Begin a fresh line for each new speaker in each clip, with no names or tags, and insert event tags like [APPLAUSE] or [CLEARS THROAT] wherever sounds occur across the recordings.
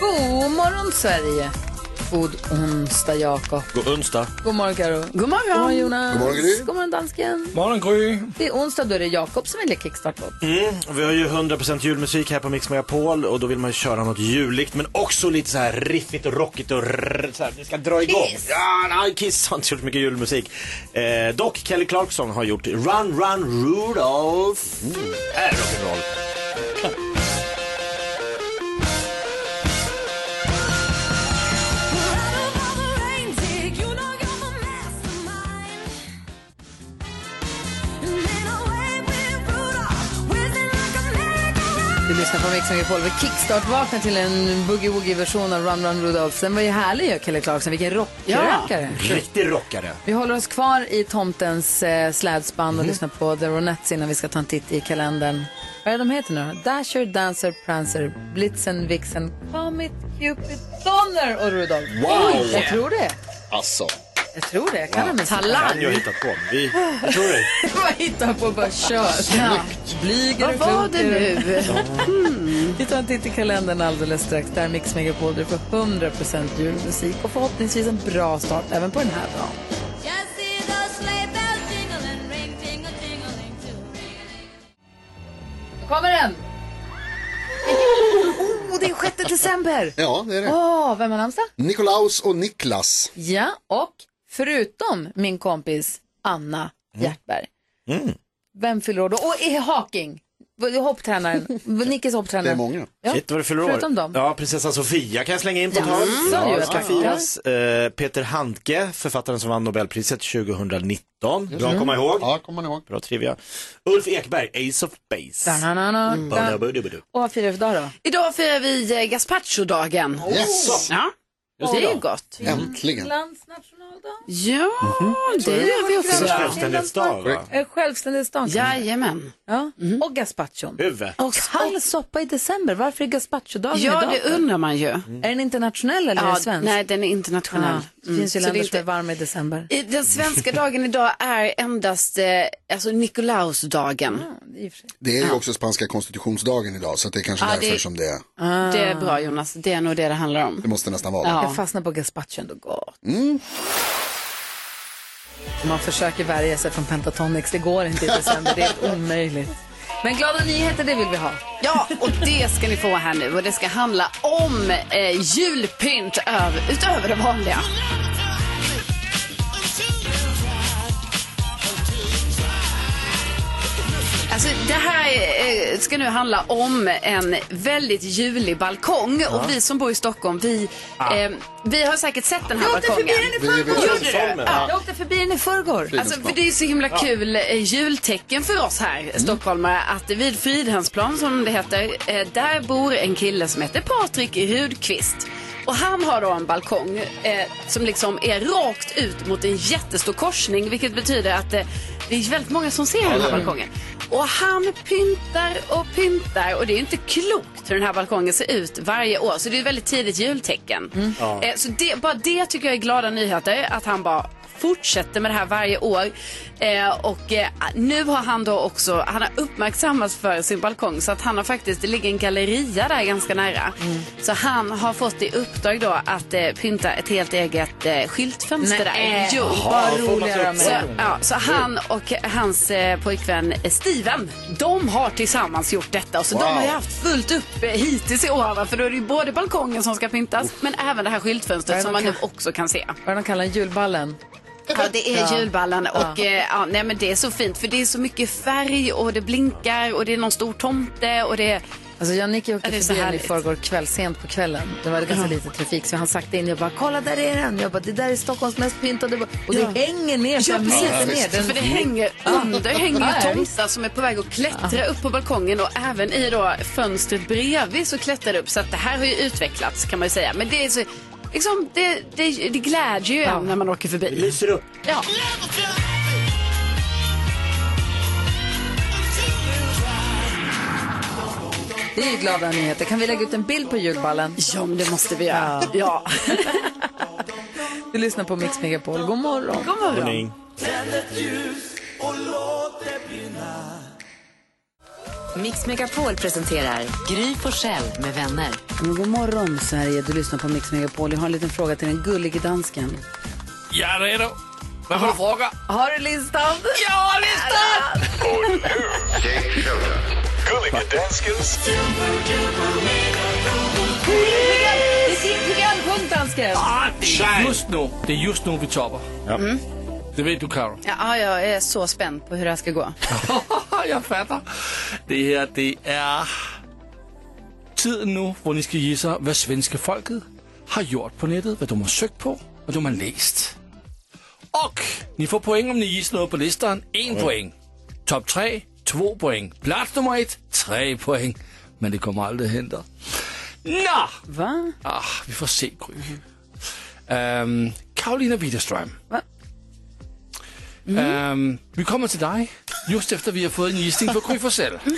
God morgon Sverige! God onsdag Jakob.
God onsdag.
God morgon Karo. God morgon, God morgon Jonas. God morgon, Gry. God morgon dansken.
Morgon Gry.
Det är onsdag då är det Jakob som väljer kickstartlåt.
Mm, vi har ju 100% julmusik här på Mix Megapol och då vill man ju köra något juligt men också lite så här riffigt och rockigt och rrr, så här, vi ska dra igång. Kiss. Ja, nej, Kiss har inte gjort mycket julmusik. Eh, dock Kelly Clarkson har gjort Run Run Rudolph. Mm. Är rock'n'roll.
Du lyssnar på Mix Megapol. Vi kickstart-vaknar till en boogie-woogie-version av Run Run Rudolph. Den var ju härlig ju, Kelly Clarkson. Vilken rockrackare.
Riktig rockare.
Vi håller oss kvar i tomtens eh, slädspann och lyssnar på The Ronettes innan vi ska ta en titt i kalendern. Vad är de heter nu då? Dasher, Dancer, Prancer, Blitzen, Vixen, Comet, Cupid, Donner och Rudolf.
Wow!
Oj, jag tror det.
Alltså.
Jag tror det. Jag kan wow.
Kan ju ha hittat på. Vi, jag tror det.
[LAUGHS] Vad hittar på och bara kör. Blyger och Vad var det nu? [LAUGHS] Vi tar en titt i kalendern alldeles strax. Där Mix Megapol du får 100% julmusik och förhoppningsvis en bra start även på den här dagen. Nu kommer den! Oh, det är 6 december!
Ja, det är det.
Åh, vem har namnsdag?
Nikolaus och Niklas.
Ja, och förutom min kompis Anna Hjärtberg.
Mm.
Mm.
Vem fyller år då? Och är Haking,
[LAUGHS]
hopptränaren, Nickes hopptränare.
Det är många.
Ja,
Shit vad du fyller år.
Förutom dem.
Ja, prinsessan Sofia kan jag slänga in på
Jaså,
tal.
ju,
Ja, det
jag
ska
tänkte.
firas. Eh, Peter Handke, författaren som vann Nobelpriset 2019. Bra att komma ihåg.
Ja, kommer ni ihåg?
Bra trivia. Ulf Ekberg, Ace of Base.
Da-na-na-na.
Bada, budu, budu.
Och vad firar vi idag då?
Idag firar vi eh, gazpacho-dagen.
Oh. Yes!
Ja, det är ju gott.
Mm.
Äntligen.
Finlands nationaldag.
Ja, det gör vi
Det är
också.
Självständighetsdag va?
Korrekt.
Eh, Självständighetsdagen.
Jajamän. Mhm.
Ja. Och gazpachon.
Huvud.
Och
Kall soppa i december. Varför är gazpachodagen
Ja,
idag?
det undrar man ju.
Är den internationell eller är
Mm. Ja,
den svensk?
nej, den är internationell.
Ja, det finns ju
Mm, så det
länder
är
som är
inte...
varma i december.
I- Den svenska dagen idag är endast eh, alltså Nikolausdagen.
Det är ju också spanska konstitutionsdagen idag, så det är kanske
Ja,
därför
det-
som det,
Det är bra Jonas, det är nog det det handlar om.
det måste nästan vara. Mm.
Ja.
Jag fastnar på gazpachon och gott. Man försöker värja sig från Pentatonix. Det går inte i december. Det är omöjligt. Men glada nyheter, det vill vi ha.
Ja, och det ska ni få här nu. Och det ska handla om eh, julpynt över, utöver det vanliga. Alltså, det här eh, ska nu handla om en väldigt julig balkong. Och vi som bor i Stockholm, vi,
Ah.
eh, vi har säkert sett den här balkongen.
Det är väl-
Gjorde du? Ja.
Jag åkte förbi den i förrgår.
Alltså, för det är så himla kul eh, jultecken för oss här stockholmare att vid Fridhemsplan som det heter, eh, där bor en kille som heter Patrik Rudqvist. Och han har då en balkong eh, som liksom är rakt ut mot en jättestor korsning vilket betyder att eh, det är väldigt många som ser den här balkongen. Och han pyntar och pyntar och det är inte klokt hur den här balkongen ser ut varje år. Så det är ett väldigt tidigt jultecken.
Mm.
Eh, så det, bara det tycker jag är glada nyheter att han bara fortsätter med det här varje år. Eh, och eh, nu har han då också, han har uppmärksammats för sin balkong så att han har faktiskt, det ligger en galleria där ganska nära. Så han har fått i uppdrag då att eh, pynta ett helt eget eh, skyltfönster
Nej.
där. Jo.
Vad roliga de
Så,
är.
ja, så han och hans eh, pojkvän eh, Steven, de har tillsammans gjort detta. Och så De har ju haft fullt upp eh, hittills i år, va? för då är det ju både balkongen som ska pyntas, men även det här skyltfönstret
Ja, de
som man nu
kan-
också kan se.
Vad de kallar den? Julballen.
Ja, det är julballen och eh, ja, nej, men det är så fint för det är så mycket färg och det blinkar och det är någon stor tomte och det är...
Alltså jag och Nicky åkte
Ja, det är så
förbi den i
härligt.
förrgår kväll, sent på kvällen. Det var ganska lite trafik så han sakta in. Jag bara, kolla där är den. Jag bara, det där är Stockholms mest pyntade. ba- Och det hänger ner. så här,
precis.
meter ner. Den-
För det hänger under hänger
Ja,
ju tomtar som är på väg att klättra upp på balkongen och även i då fönstret bredvid så klättrar det upp. Så att det här har ju utvecklats kan man ju säga. Men det är så liksom, det, det, det glädjer ju en när man åker förbi.
Lyser upp.
Ja.
Det är ju glada nyheter. Kan vi lägga ut en bild på julballen?
ja, men det måste vi göra.
Ja.
Ja.
Du lyssnar på Mix Megapol. God morgon.
God morgon.
Morning.
Mix Megapol presenterar Gry på själv med vänner.
Men god morgon, Sverige. Du lyssnar på Mix Megapol. Jag har en liten fråga till den gullige dansken.
Jag är redo. Vad har du fråga?
Har du listan?
Ja, listan!
Det är ditt programpunkt, dansken.
Ah, det är just nu. Det är just nu vi toppar. Det vet du, Karo.
Ja, jag är så spänd på hur det här
[LAUGHS]
ska gå.
jag fattar. Det här, det är tiden nu, hvor ni ska gissa vad svenska folket har gjort på nätet, vad de har sökt på, vad de har läst. Och ni får poäng om ni gissar något på listan. En poäng. Topp tre, två poäng. Plats nummer ett, tre poäng. Men det kommer aldrig hända. Nå!
Va?
Ah, vi får se, Gry. Ehm, Karolina Widerström.
Va?
Ehm, vi kommer till dig just efter vi har fått en gissning för Gry Forssell. [LAUGHS]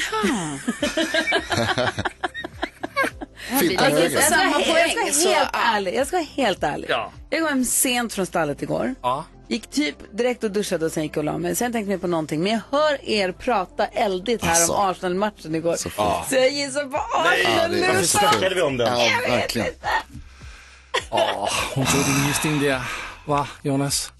Finta höger.
Jag ska,
Samma
vara he-
poäng,
jag
så,
ska vara helt
ja.
ärlig. Jag ska vara helt ärlig.
Ja.
Jag kom hem sent från stallet igår.
Ja.
Gick typ direkt och duschade och sen gick jag och la mig. Sen tänkte jag på någonting. Men jag hör er prata eldigt här om Arsenal-matchen igår. Så, jag gissar på Arsenal
Ah. det är alltså så
nu. så-
fint.
Snackade vi om den?
Ja, verkligen.
Hon tog din gissning där. Va, Jonas?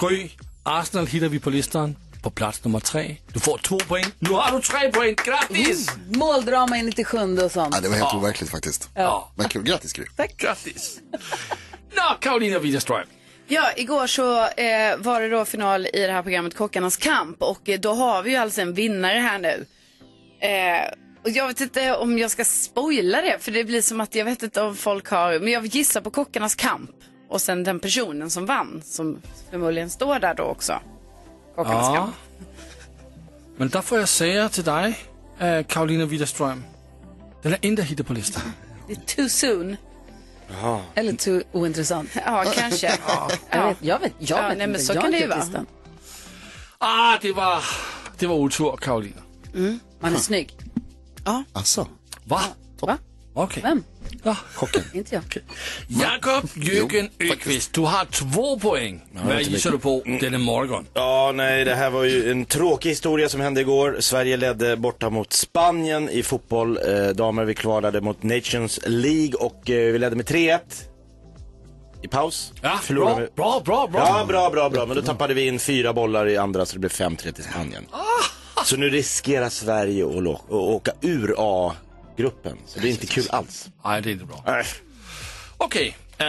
Gry, Arsenal hittar vi på listan på plats nummer tre. Du får två poäng. Nu har du tre poäng. Grattis!
Mm. Måldrama i 97 och sånt.
Ja, det var helt overkligt faktiskt.
Ja.
Men kul, grattis Gry.
Grattis! Nå, Karolina Widerström.
Ja, igår så eh, var det då final i det här programmet Kockarnas kamp och eh, då har vi ju alltså en vinnare här nu. Eh, och jag vet inte om jag ska spoila det för det blir som att jag vet inte om folk har, men jag gissar på Kockarnas kamp och sen den personen som vann som förmodligen står där då också. Kockarnas
Ja.
kamp.
Men där får jag säga till dig, eh, Karolina Widerström. Den är inte hittat på listan.
Det är too soon.
Eller too ointressant.
Ja,
[LAUGHS]
kanske.
[LAUGHS]
ja.
Jag vet, jag vet, jag
Ja,
vet
nej, men
inte.
så
jag
kan
har
det ju
inte
vara.
listan.
Ah, det var, det var otur, Karolina.
Mm.
Man är snygg.
Alltså.
Va?
Va?
Okej.
Vem?
Ja.
[LAUGHS] Inte jag.
Jakob Jürgen Öqvist, du har två poäng. Vad gissar du på
Mm.
denna morgon?
Ja, nej, det här var ju en tråkig historia som hände igår. Sverige ledde borta mot Spanien i fotboll. Eh, damer, vi kvalade mot Nations League och eh, vi ledde med 3-1 i paus.
Ja,
Förlorade
bra,
med-
bra, bra, bra.
Ja, bra, bra, bra. Men då tappade vi in fyra bollar i andra så det blev 5-3 till Spanien. Så nu riskerar Sverige att lo- att åka ur A-gruppen. Så det är inte kul alls.
Nej, det är inte bra.
Nej.
Okej, eh,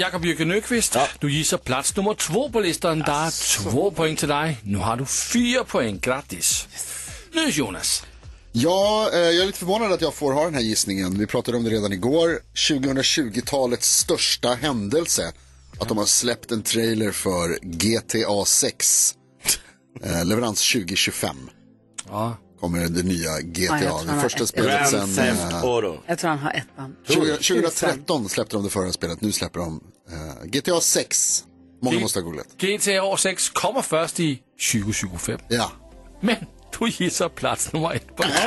Jakob Jürgen Öqvist, du gissar plats nummer två på listan. Där är två poäng till dig. Nu har du fyra poäng, grattis. Nu Jonas.
Ja, eh, jag är lite förvånad att jag får ha den här gissningen. Vi pratade om det redan igår. 2020-talets största händelse. Att de har släppt en trailer för GTA 6. Eh, leverans 2025.
Ja.
Kommer det nya GTA.
jag tror han
det
har
första
ett-
spelet
Grand
sen...
Theft
Eh,
Auto.
Jag tror han har ettan.
20, 2013 släppte de det förra spelet. Nu släpper de eh, GTA 6. Många
Det-
måste ha googlat.
GTA 6 kommer först i 2025.
Ja.
Men du gissar plats nummer ett på listan.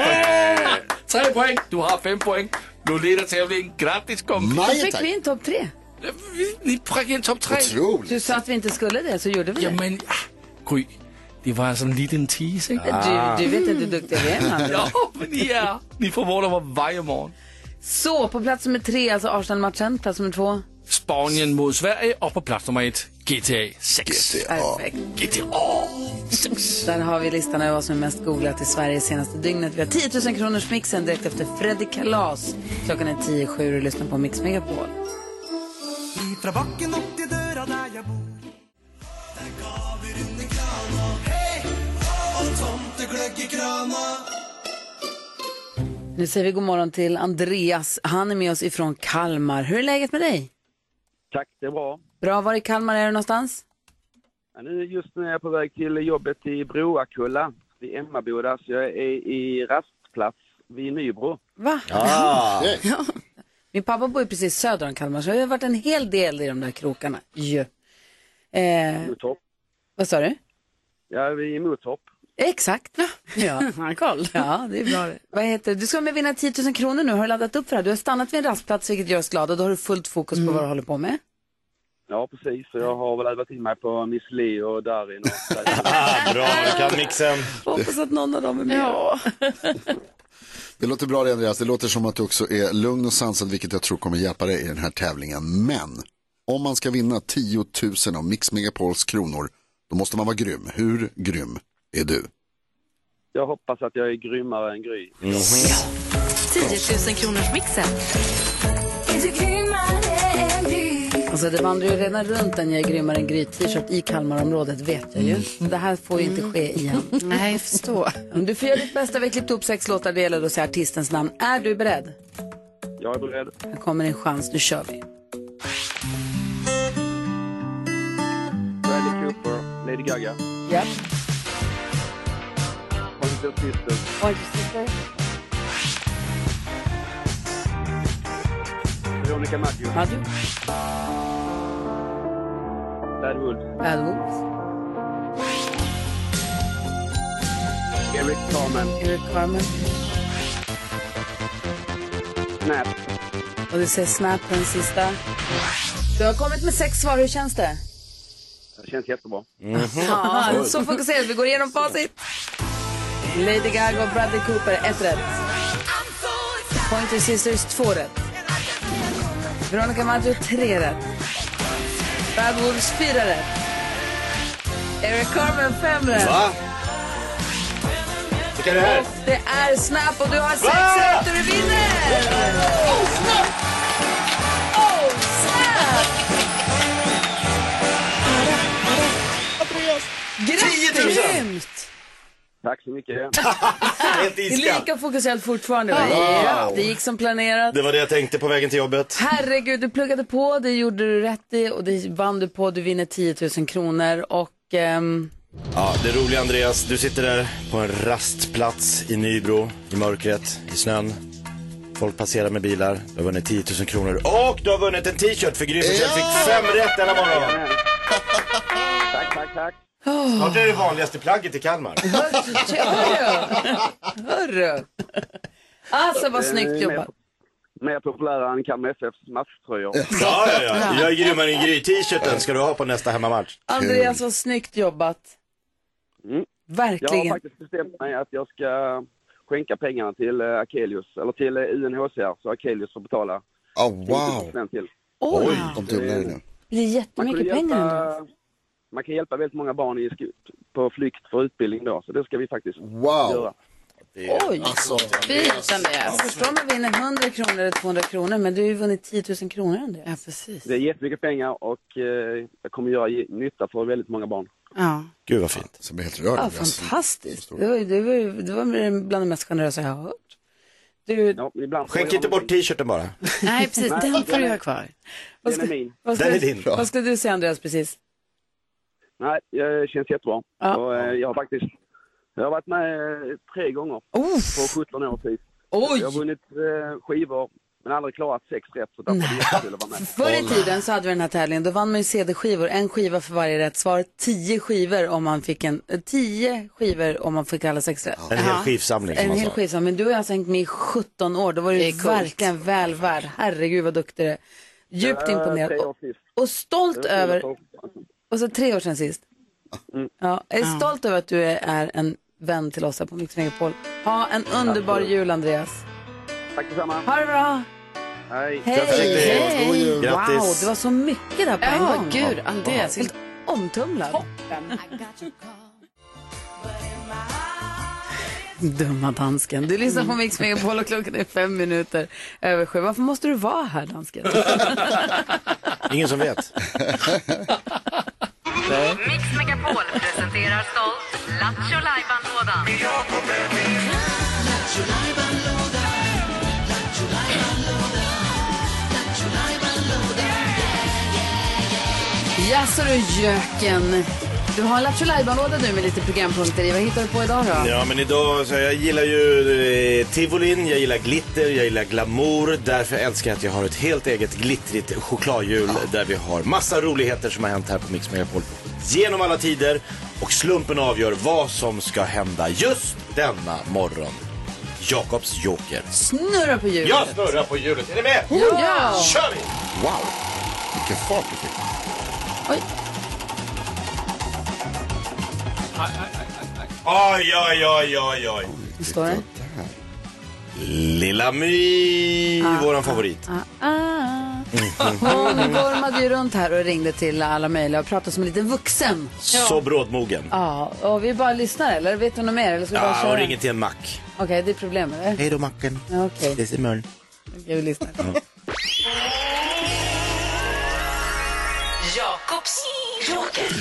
Tre poäng, du har fem poäng. Du leder tävlingen. Grattis kompis.
Då
Maja,
fick
tack.
vi in topp tre.
Vi- Ni prickar in topp tre.
Otroligt.
Du sa att vi inte skulle det, så gjorde vi det.
Jamen, ah, Gry. Det var alltså en liten tease, ikke?
Du, du vet inte hur duktiga vi är med andra.
Ja, men ni är... Ni förvånar mig varje morgon.
Så, på plats nummer tre, alltså Arsenal-matchen. Plats nummer två.
Spanien mod Sverige och på plats nummer ett GTA 6.
Perfekt.
GTA 6.
Där har vi listan över vad som är mest googlat i Sverige senaste dygnet. Vi har 10 000 kronors mixen direkt efter Freddy Kalas. Klockan är 10 sju och lyssnar på Mix Megapol. Nu säger vi god morgon till Andreas. Han är med oss ifrån Kalmar. Hur är läget med dig?
Tack, det är bra.
Bra. Var i Kalmar är du någonstans?
Ja, nu just nu är jag på väg till jobbet i Broakulla vid Emmaboda,
[LAUGHS]
så jag är i rastplats vid Nybro.
Va?
Ah.
Min pappa bor ju precis söder om Kalmar, så jag har varit en hel del i de där krokarna. Ju. Eh,
Motorp.
vad sa du?
Ja, vi är i Motorp.
Exakt. [LAUGHS] Ja. Han koll. Ja, det är bra det. Vad heter det? Du ska vara med och vinna 10 000 kronor nu. Har du laddat upp för det här? Du har stannat vid en rastplats vilket gör oss glada. Då har du fullt fokus
Mm.
på vad du håller på med.
Ja, precis. Så jag har väl övat in mig på Miss Li och Darin och
[LAUGHS] Ah, bra, du kan mixen.
Hoppas att någon av dem är med.
Det låter bra det Andreas, det låter som att du också är lugn och sansad vilket jag tror kommer hjälpa dig i den här tävlingen. Men om man ska vinna 10 000 av Mix Megapols kronor då måste man vara grym. Hur grym är
[LAUGHS]
du?
Jag hoppas att jag är grymmare än Gry.
10 000 kronors mixen.
Alltså det vandrar ju redan runt en jag är grymmare än Gry t-shirt i Kalmarområdet vet jag ju. Det här får ju inte ske igen.
Mm. [LAUGHS] Nej, jag förstår.
Du får göra ditt bästa. Vi har klippt upp sex låtar. Det gäller att säga artistens namn. Är du beredd?
Jag är beredd.
Här kommer din chans. Nu kör vi.
Bradley Cooper, Lady Gaga,
Japp.
Pointer Sisters, Veronica Maggio,
Maggio.
Bad Wolves,
Bad Wolves.
Eric Carmen,
Eric Carmen.
Snap,
Och du säger Snap på den sista. Du har kommit med sex svar. Hur känns det?
Det känns jättebra.
Mm-hmm. Ja, så fokuserad. Vi går igenom facit. Lady Gaga och Bradley Cooper, ett rätt. Pointer Sisters, två rätt. Veronica Maggio, tre rätt. Bad Wolves, fyra rätt. Eric Carmen, fem rätt.
Va? Vilka är det här?
Och det är Snap och du har sex rätt och du vinner! Oh, Snap! Oh, Snap! Grattis! Grymt!
Tack så mycket.
Helt
Det är
iskall.
lika fokuserat fortfarande. Ja, det gick som planerat.
Det var det jag tänkte på vägen till jobbet.
Herregud, du pluggade på, det gjorde du rätt i och det vann du på. Du vinner 10 000 kronor och ehm,
Ja, det roliga Andreas, du sitter där på en rastplats i Nybro, i mörkret, i snön. Folk passerar med bilar, du har vunnit 10 000 kronor och du har vunnit en t-shirt för Gry Forssell fick fem rätt denna morgon.
Tack, tack, tack.
Snart är det vanligaste plagget i Kalmar.
hörru, hörru. Alltså vad snyggt jobbat.
Eh, Mer populära än Kalmar FFs matchtröjor.
Ja, ja, ja. Jag är grymmare än Gry-t-shirten ska du ha på nästa hemmamatch.
Andreas, vad snyggt jobbat.
Mm. Jag har
Verkligen.
faktiskt bestämt mig att jag ska skänka pengarna till eh, Akelius, eller till eh, UNHCR, så Akelius får betala
Ah wow,
10% till.
Oj,
de dubblar det nu.
det är
Man kan,
jättemycket pengar ändå.
hjälpa, man kan hjälpa väldigt många barn i, sk- på flykt för utbildning då, så det ska vi faktiskt
Wow,
göra.
Oj,
alltså,
Fint, Andreas.
förstår om man vinner 100 kronor eller 200 kronor, men du har ju vunnit 10 000 kronor Andreas.
Ja, precis.
Det är jättemycket pengar och eh, jag kommer göra ge- nytta för väldigt många barn.
Ja.
Gud vad fint.
jag blir helt rörd.
Ja,
Andreas.
fantastiskt. Det var, ju- det, var, ju- det var bland det mest generösa jag har hört. Du,
Ja, ibland får
Skänk
jag
inte
någonting.
bort t-shirten bara.
[LAUGHS]
Nej, precis. Den får du ha kvar.
vad
Den är min.
vad ska,
Den är din.
Vad ska du säga Andreas precis?
Nej, det känns jättebra.
Ja.
Och, eh, jag har faktiskt jag har varit med eh, tre gånger på 17 år typ.
Oj!
Jag har vunnit eh, skivor men aldrig klarat sex rätt så därför är det jättekul att vara med.
Förr i tiden så hade vi den här tävlingen, då vann man ju CD-skivor, en skiva för varje rätt svar, tio skivor om man fick en, eh, tio skivor om man fick alla sex rätt.
En hel skivsamling som
En
man
hel
sa.
skiva, men du har alltså hängt med i 17 år, då var
Det
du
är coolt.
verkligen väl värd. Herregud vad duktig du är. Djupt
Eh,
imponerad
Tre år
och,
sist.
och Mm. stolt över
Tack
Och så tre år sedan sist. Ja, jag är stolt över att du är, är en vän till oss här på Mix Megapol. Ha en underbar jul, Andreas.
detsamma.
Ha det bra.
Hej.
Hej!
Hej. God jul.
Wow,
Grattis.
det var så mycket där på en
Ja,
gång.
gud, Andreas.
Helt omtumlad. Dumma dansken. Du lyssnar på Mix Megapol och klockan är fem minuter över sju. Varför måste du vara här, dansken?
[LAUGHS] Ingen som vet.
Mix Megapol presenterar stolt Lattjo Lajban-lådan.
Jaså du, göken. Du har en Lattjo Lajban-låda nu med lite programpunkter i. Vad hittar du på idag då?
Ja, men idag så jag gillar ju eh, tivolin, jag gillar glitter, jag gillar glamour. Därför älskar jag att jag har ett helt eget glittrigt chokladhjul där vi har massa roligheter som har hänt här på Mix Megapol genom alla tider. Och slumpen avgör vad som ska hända just denna morgon. Jakobs joker.
Snurra på hjulet.
Jag snurrar på hjulet, är ni med?
Ja!
Kör vi!
Wow, vilken fart du fick.
Oj, oj, oj, oj, oj.
Vad står det?
Lilla My,
[LAUGHS]
våran favorit.
Ah. Hon gormade ju runt här och ringde till alla möjliga och pratade som en liten vuxen.
Så brådmogen.
Ja, och vi bara lyssnar eller? Vet du något mer? Eller ska vi bara
Ja,
köra?
och ringer till en mack.
Okej, det är problem eller?
Hej då macken.
Ja, Okej,
Ses imorgon.
okay. vi lyssnar.
Jakobs joker.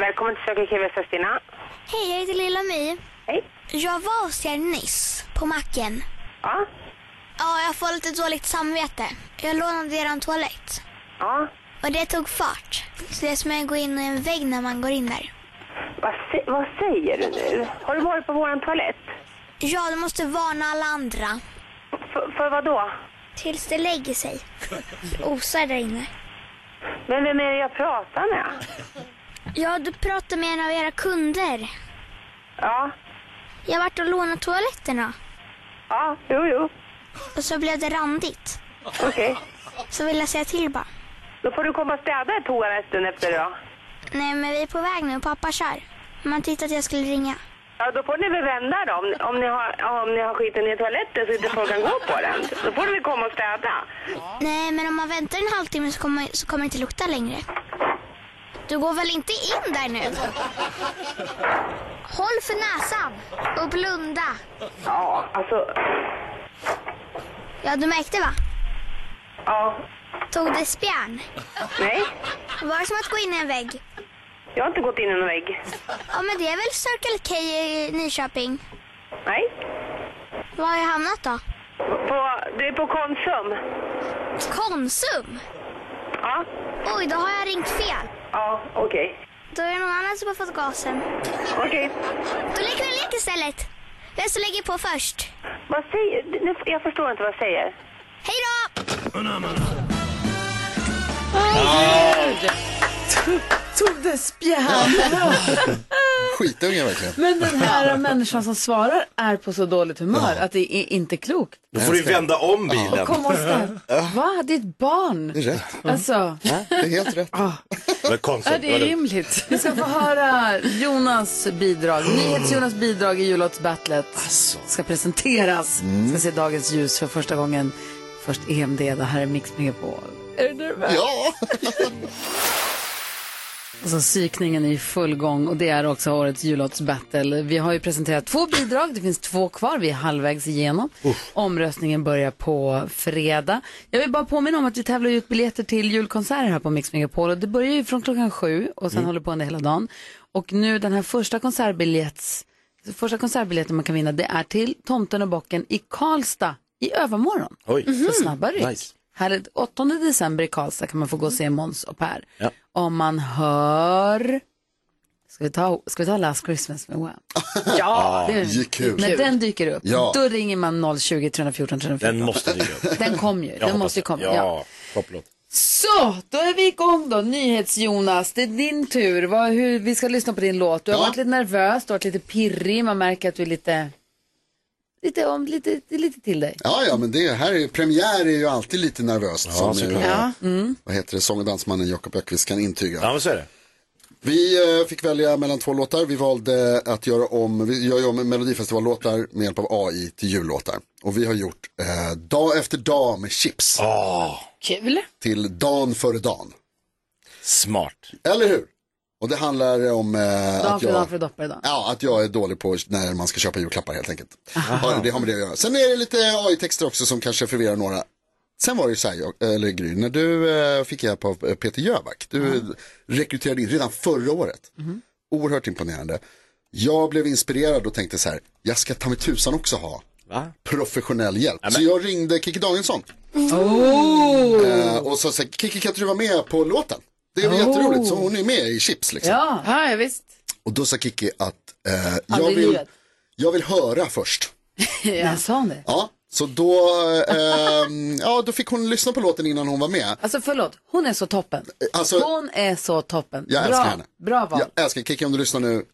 Välkommen till Circle K Västra
Hej, jag heter Lilla My.
Hej.
Jag var hos er nyss, på macken.
Ja.
Ja, jag får lite dåligt samvete. Jag lånade er toalett.
Ja.
Och det tog fart. Så det är som att gå in i en vägg när man går in där.
Vad, sä- vad säger du nu? Har du varit på våran toalett?
Ja, du måste varna alla andra.
För, för vad då?
Tills det lägger sig. [LAUGHS] Det Osar där inne.
Men vem är det jag pratar med?
Ja, du pratade med en av era kunder.
Ja.
Jag vart och lånade toaletterna.
Ja, jo, jo.
Och så blev det randigt.
Okej.
Så vill jag säga till bara.
Då får du komma och städa toaletten efter då.
Nej, men vi är på väg nu. Pappa kör. Man tyckte att jag skulle ringa.
Ja, då får ni väl vända då. Om, om, ni har, om ni har skiten i toaletten så inte folk kan gå på den. Då får du väl komma och städa.
Nej, men om man väntar en halvtimme så kommer, så kommer det inte lukta längre. Du går väl inte in där nu? Håll för näsan och blunda.
Ja, alltså.
Ja, du märkte va?
Ja.
Tog det spjärn?
Nej.
Var det som att gå in i en vägg?
Jag har inte gått in i någon vägg.
Ja, men det är väl Circle K i Nyköping?
Nej.
Var har jag hamnat då?
På, det är på Konsum.
Konsum?
Ja.
Oj, då har jag ringt fel.
Ja, okej.
Då är det någon annan som har fått gasen.
Okej.
Då leker vi en lek istället. Vem som lägger på först?
Vad säger... Nu, jag förstår inte vad jag säger.
Hej då!
Tog det spjärn?
Skitunge verkligen.
Men den här människan som svarar är på så dåligt humör att det är inte klokt.
Då får du vända om bilen.
Kom och städ. Va? Det är ett
Det
barn.
är rätt.
Alltså,
Det är helt rätt.
Men konstigt.
ja, det är
Vadå?
rimligt. Vi ska få höra Jonas bidrag. Nyhets-Jonas
Mm.
bidrag i jullåtsbattlet
Alltså.
ska presenteras.
Mm.
Ska se dagens ljus för första gången. Först EMD, det här är Mix Megapol. Är du nervös?
Ja,
Alltså psykningen är i full gång och det är också årets jullåtsbattle. Vi har ju presenterat två bidrag, det finns två kvar, vi är halvvägs igenom. Omröstningen börjar på fredag. Jag vill bara påminna om att vi tävlar ut biljetter till julkonserter här på Mix Megapol och det börjar ju från klockan sju och
Mm.
sen håller på under hela dagen. Och nu den här första konsertbiljetts, första konsertbiljetten man kan vinna det är till Tomten och Bocken i Karlstad i övermorgon.
Oj.
Mhm.
Mm-hmm.
Så snabba ryck.
Nice.
Här är 8 december i Karlstad kan man få gå och se Måns och Per.
Ja.
Om man hör... Ska vi ta, ska vi ta Last Christmas med Wham?
Ah.
ja, det
det är kul.
När den dyker upp,
Ja.
då ringer man 020 314 314.
[LAUGHS]
Den måste dyka upp.
Den, kom ju,
Jag
den måste ju
hoppas
komma.
det.
Ja.
Ja, topplåt.
Så, då är vi igång då. NyhetsJonas, det är din tur. Vad, hur, vi ska lyssna på din låt. Du har
Ja.
varit lite nervös, du har varit lite pirrig, man märker att du är lite... Lite, om, lite, det är lite till dig.
Ja, ja, men det här är, premiär är ju alltid lite nervöst. som ju,
såklart.
eh,
mm.
Vad heter det, sång och dansmannen Jakob Ökvist kan intyga.
Ja, men så är det.
Vi eh, fick välja mellan två låtar. Vi valde att göra om, vi gör ju om Melodifestivallåtar med hjälp av AI till jullåtar. Och vi har gjort eh, dag efter dag med chips
Kul.
till dan före dan.
Smart.
Eller hur? Och det handlar om eh,
Dag
att
för dag
jag...
för doppar idag.
Ja, att jag är dålig på när man ska köpa julklappar helt enkelt. Ja, det har med det att göra. Sen är det lite AI-texter också som kanske förvirrar några. Sen var det ju så här, jag- eller Gry, när du eh, fick hjälp av eh, Peter Jöback, du rekryterade in redan förra året. Oerhört imponerande. Jag blev inspirerad och tänkte så här, jag ska ta mig tusan också ha
Va?
professionell hjälp. Så jag ringde Kikki Danielsson. Eh, och så sa, Kikki kan inte du vara med på låten? Det var
Oh.
jätteroligt, så hon är med i Chips liksom.
Ja. ja, ja, visst.
Och då sa Kiki att eh, jag,
Aldrig i
vill,
livet.
jag vill höra först.
ja. sa han det?
Ja, så då, ehm, ja, då fick hon lyssna på låten innan hon var med.
Alltså förlåt, hon är så toppen.
Alltså-
hon är så toppen.
Jag
bra,
älskar henne.
Bra val.
Jag älskar Kiki om du lyssnar nu.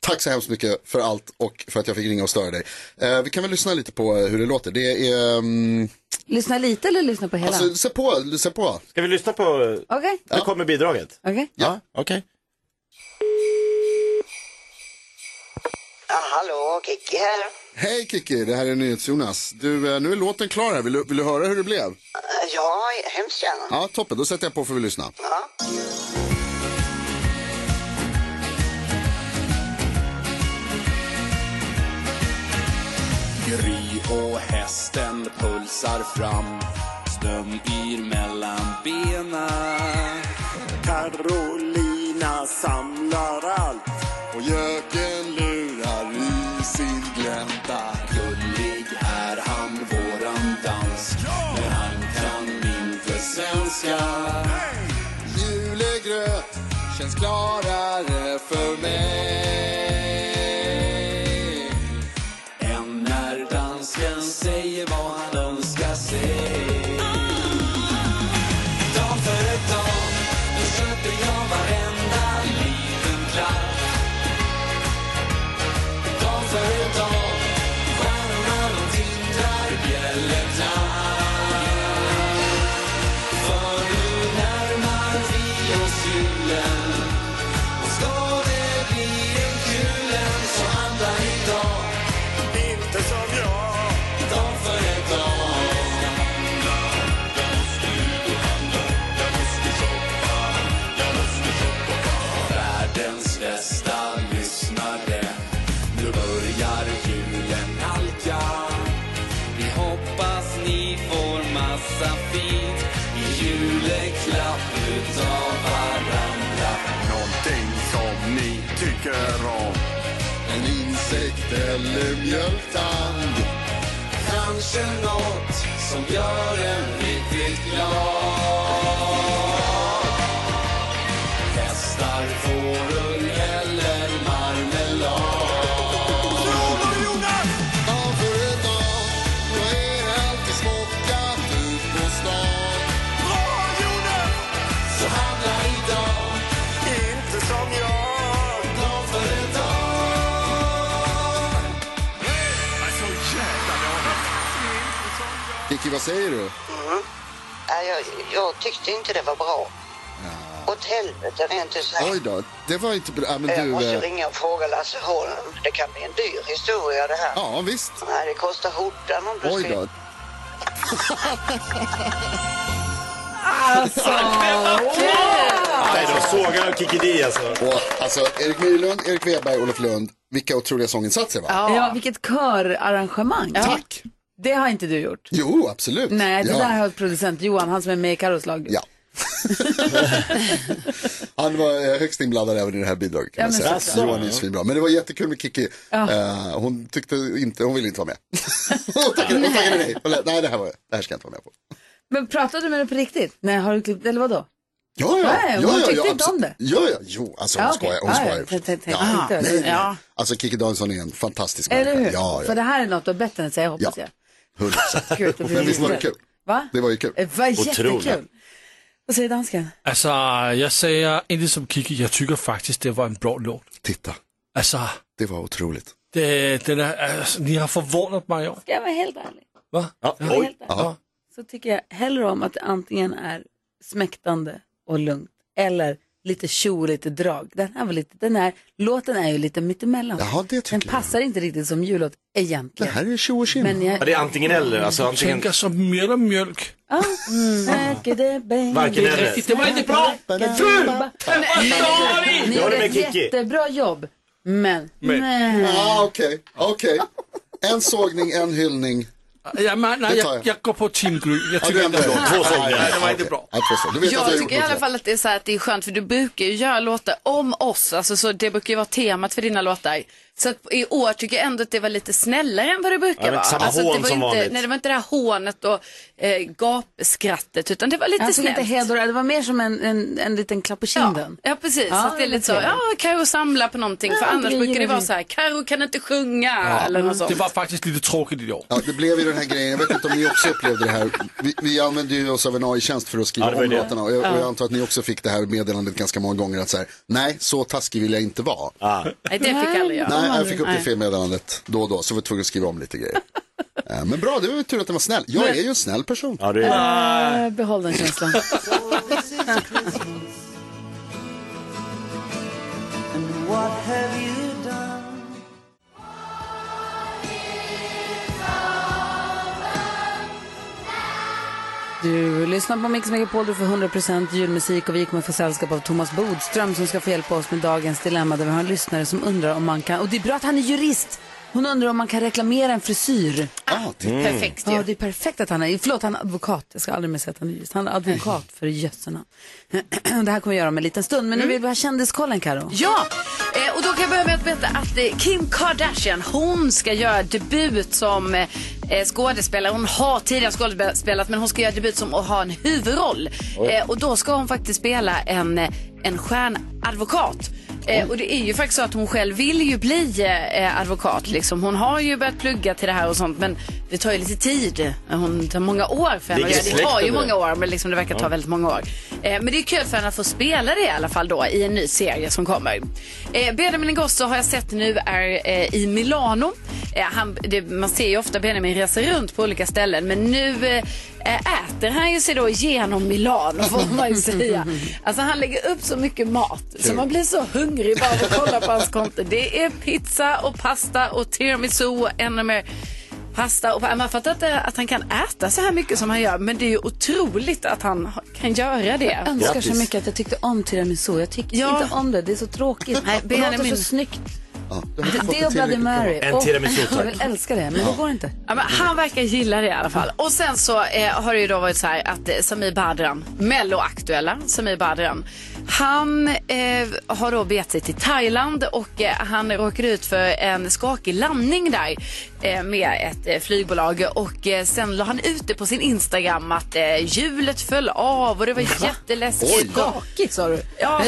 Tack så hemskt mycket för allt och för att jag fick ringa och störa dig. Eh, vi kan väl lyssna lite på eh, hur det låter. Det är... ehm,
Lyssna lite eller lyssna på hela?
alltså, se på, se på.
Ska vi lyssna på...
Okej.
Nu kommer bidraget.
Okej.
Ja, okej.
Ja, hallå, Kikki här.
Hej Kiki, det här är NyhetsJonas. Du, eh, nu är låten klar här. Vill du, vill du höra hur det blev?
Eh, Ja, hemskt gärna.
Ja, toppen. Då sätter jag på för vi lyssna.
Ja.
Gry och hästen pulsar fram Snön yr mellan bena Carolina samlar allt Och göken lurar i sin glänta Gullig är han, våran dansk Men han kan inte svenska Julegröt känns klarare för mig än när dansken säger vad han önskar sig. Dag för ett dag, nu sköter jag varenda liten klapp. Dag för ett dag, stjärnorna de tindrar bjällertland. För nu närmar vi oss julen och ska det bli en kulen så handla idag inte som jag Dag för ett dag Världens bästa lyssnare Nu börjar julen nalka Vi hoppas ni får massa fint i juleklapp utav varandra Någonting som ni tycker om en insekt eller mjölktand Kanske nåt som gör en riktigt glad Hästar, fårull eller marmelad Dag för en dag, då är allt i smockat ut på stan Bra Jonas! Så handla idag, inte som jag Dag för en dag
Kiki, vad säger du?
Mm. Ja, jag, jag tyckte inte det var bra. Åt helvete rent ut sagt.
Oj då, det var inte bra. Ja, men
jag
du,
måste
eh,
ringa och fråga Lasse Holm. Det kan bli en dyr historia det här.
ja visst.
Nej, det kostar skjortan om du
Oj
ska...
då.
Alltså,
Nej, de sågar av Kiki Di alltså.
Och, alltså, Erik Myrlund, Erik Weberg, Olof Lund. Vilka otroliga sånginsatser va?
Ja. vilket körarrangemang. Tack. Det har inte du gjort.
Jo, absolut.
Nej, det
ja.
där har producent Johan, han som är med i Carros lag.
Ja. Han var eh, högst inblandad även i det här bidraget kan
Ja,
man säga.
men såklart.
Johan är svinbra. Men det var jättekul med Kiki.
Ja.
Eh, hon tyckte inte, hon ville inte vara
[LAUGHS]
med. hon tackade hon tackade nej. Hon lät, nej, det här, var, det här ska jag inte vara med på.
Men pratade du med henne på riktigt? Nej, har du klippt, eller vadå?
Ja, ja.
Nej,
ja,
hon
ja,
tyckte
ja,
inte
absolut.
om det.
Ja, ja, jo, alltså hon
Ja, okej.
skojar. Hon
Ja,
skojar.
ja,
förstås.
jag tänkte-
Ja,
jag tänkte-
nej, nej.
ja.
Alltså Kiki Danielsson är en fantastisk
Eller hur?
Ja,
För
ja.
det här är något du har bett henne säga, hoppas
Ja.
jag.
Hundra procent.
Gud, det blir
Men visst var det
roligt.
kul?
Va?
Det var ju kul.
Det var jättekul. Vad säger dansken?
Altså, jeg säger inte som Kiki, jag tycker faktiskt det var en bra låt.
Titta.
Altså,
Det var otroligt.
det, den är, alltså, ni har förvånat mig i år.
Ska jag vara helt ärlig?
Va?
Ja,
Ska jag vara helt ärlig? Så tycker jag hellre om att det antingen är smäktande och lugnt eller lite tjo och lite drag. Den här var lite, den här låten är ju lite mittemellan.
Jaha, det
den passar inte riktigt som jullåt egentligen.
Det här är tjo och tjim.
Men jag...
Ja, det är antingen eller. Alltså, antingen...
Tänker som mjöl och mjölk.
Ah, säker det, baby.
Varken eller. Det är riktigt, det var inte bra. Ful!
Men-
dålig!
Ni
Jag
gjorde
håller med
ett
Kiki.
jättebra jobb, men...
Men-
Nej.
Ah, Okej, okej. En sågning, en hyllning.
Ja, men, nej,
Det tar
jag,
jag.
jag går på Team Gry. Jag tycker inte
ändrar
det var
dig.
bra.
Två sånger.
Nej, det var inte
Okej.
bra.
Ja, två sånger. Du vet att
Jag,
jag har gjort
tycker i
något
alla
bra.
fall att det är, så här, att det är skönt för du brukar ju göra låtar om oss. Alltså, så det brukar ju vara temat för dina låtar. Så att i år tycker jag ändå att det var lite snällare än vad det brukar
Ja, men
vara. Alltså,
samma
det
hån
var inte,
som vanligt.
Nej, det var inte det här hånet och eh, gapskrattet utan det var alltså, lite
Jag fick
snällt.
inte hedra, det var mer som en, en, en liten klapp på kinden.
Ja, precis.
Ja,
att det är lite så,
det är
ja, Karo samlar på någonting.
Ja,
för annars
grejer
brukar det
och
vara
grejer.
så här, Karo kan inte sjunga eller något sånt.
det var faktiskt lite tråkigt i år.
Ja, det blev ju den här grejen, jag vet inte om ni också upplevde det här. Vi, vi använde ju oss av en AI-tjänst för att skriva
Ja, det var
om
ju det.
låtarna. Och jag, och jag
Ja.
antar att ni också fick det här meddelandet ganska många gånger att så här, nej, så taskig vill jag inte vara.
Nej, det fick aldrig jag.
Nej, jag fick upp det
Nej.
fel meddelandet då och då, så var jag tvungen att skriva om lite grejer. Eh, Men bra, det var ju tur att den var snäll. Jag är ju en snäll person. Ja,
det
Eh, behåll den känslan. Du lyssnar på Mix Megapol, du får 100% julmusik och vi kommer få sällskap av Thomas Bodström som ska få hjälpa oss med dagens dilemma där vi har en lyssnare som undrar om man kan, och det är bra att han är jurist, hon undrar om man kan reklamera en frisyr.
Ah,
Mm. perfekt ju.
Ja, det är perfekt att han är, förlåt han är advokat, jag ska aldrig mer säga att han är jurist, han är advokat för jössarna. [CLEARS THROAT] Det här kommer jag göra om en liten stund, men nu vill vi ha kändiskollen Karo.
Ja, eh, och då kan jag börja med att berätta att eh, Kim Kardashian, hon ska göra debut som eh, eh, skådespelare. Hon har tidigare skådespelat men hon ska göra debut som att ha en huvudroll.
Oj.
Eh, och då ska hon faktiskt spela en, eh, en stjärnadvokat. Eh, och det är ju faktiskt så att hon själv vill ju bli eh, advokat. Liksom. Hon har ju börjat plugga till det här och sånt men det tar ju lite tid. Hon tar många år för henne att göra
Ligger i
det. Det tar ju
släkten det.
många år men liksom det verkar ta
Ja.
väldigt många år. Eh, men det är kul för henne att få spela det i alla fall då i en ny serie som kommer. Eh, Benjamin Ingrosso har jag sett nu är eh, i Milano. Eh, han, det, man ser ju ofta Benjamin reser runt på olika ställen men nu eh, äter han ju sig då genom Milano [LAUGHS] får man ju säga. Alltså han lägger upp så mycket mat så man blir så hungrig bara av att kolla på hans konto. Det är pizza och pasta och tiramisu och ännu mer pasta. Och, man fattar inte att han kan äta så här mycket som han gör men det är ju otroligt att han ha- kan göra det.
Jag önskar så mycket att jag tyckte om tiramisu. Jag tyckte
Ja.
inte om det. Det är så tråkigt.
Nej,
det låter
Benjamin.
så snyggt.
Ja,
Det, det och Bloody Mary.
En
Åh,
tiramisu, tack.
[LAUGHS] Jag älskar det, men
Ja.
det går inte.
Ja, men han verkar gilla det i alla fall. Och sen så eh, har det ju då varit så här att eh, Samir Badran, Mello-aktuella Samir Badran, han eh, har då begett sig till Thailand och eh, han råkar ut för en skakig landning där eh, med ett eh, flygbolag och eh, sen la han ut det på sin Instagram att eh, hjulet föll av och det var jätteläskigt.
Skakigt sa du?
Ja.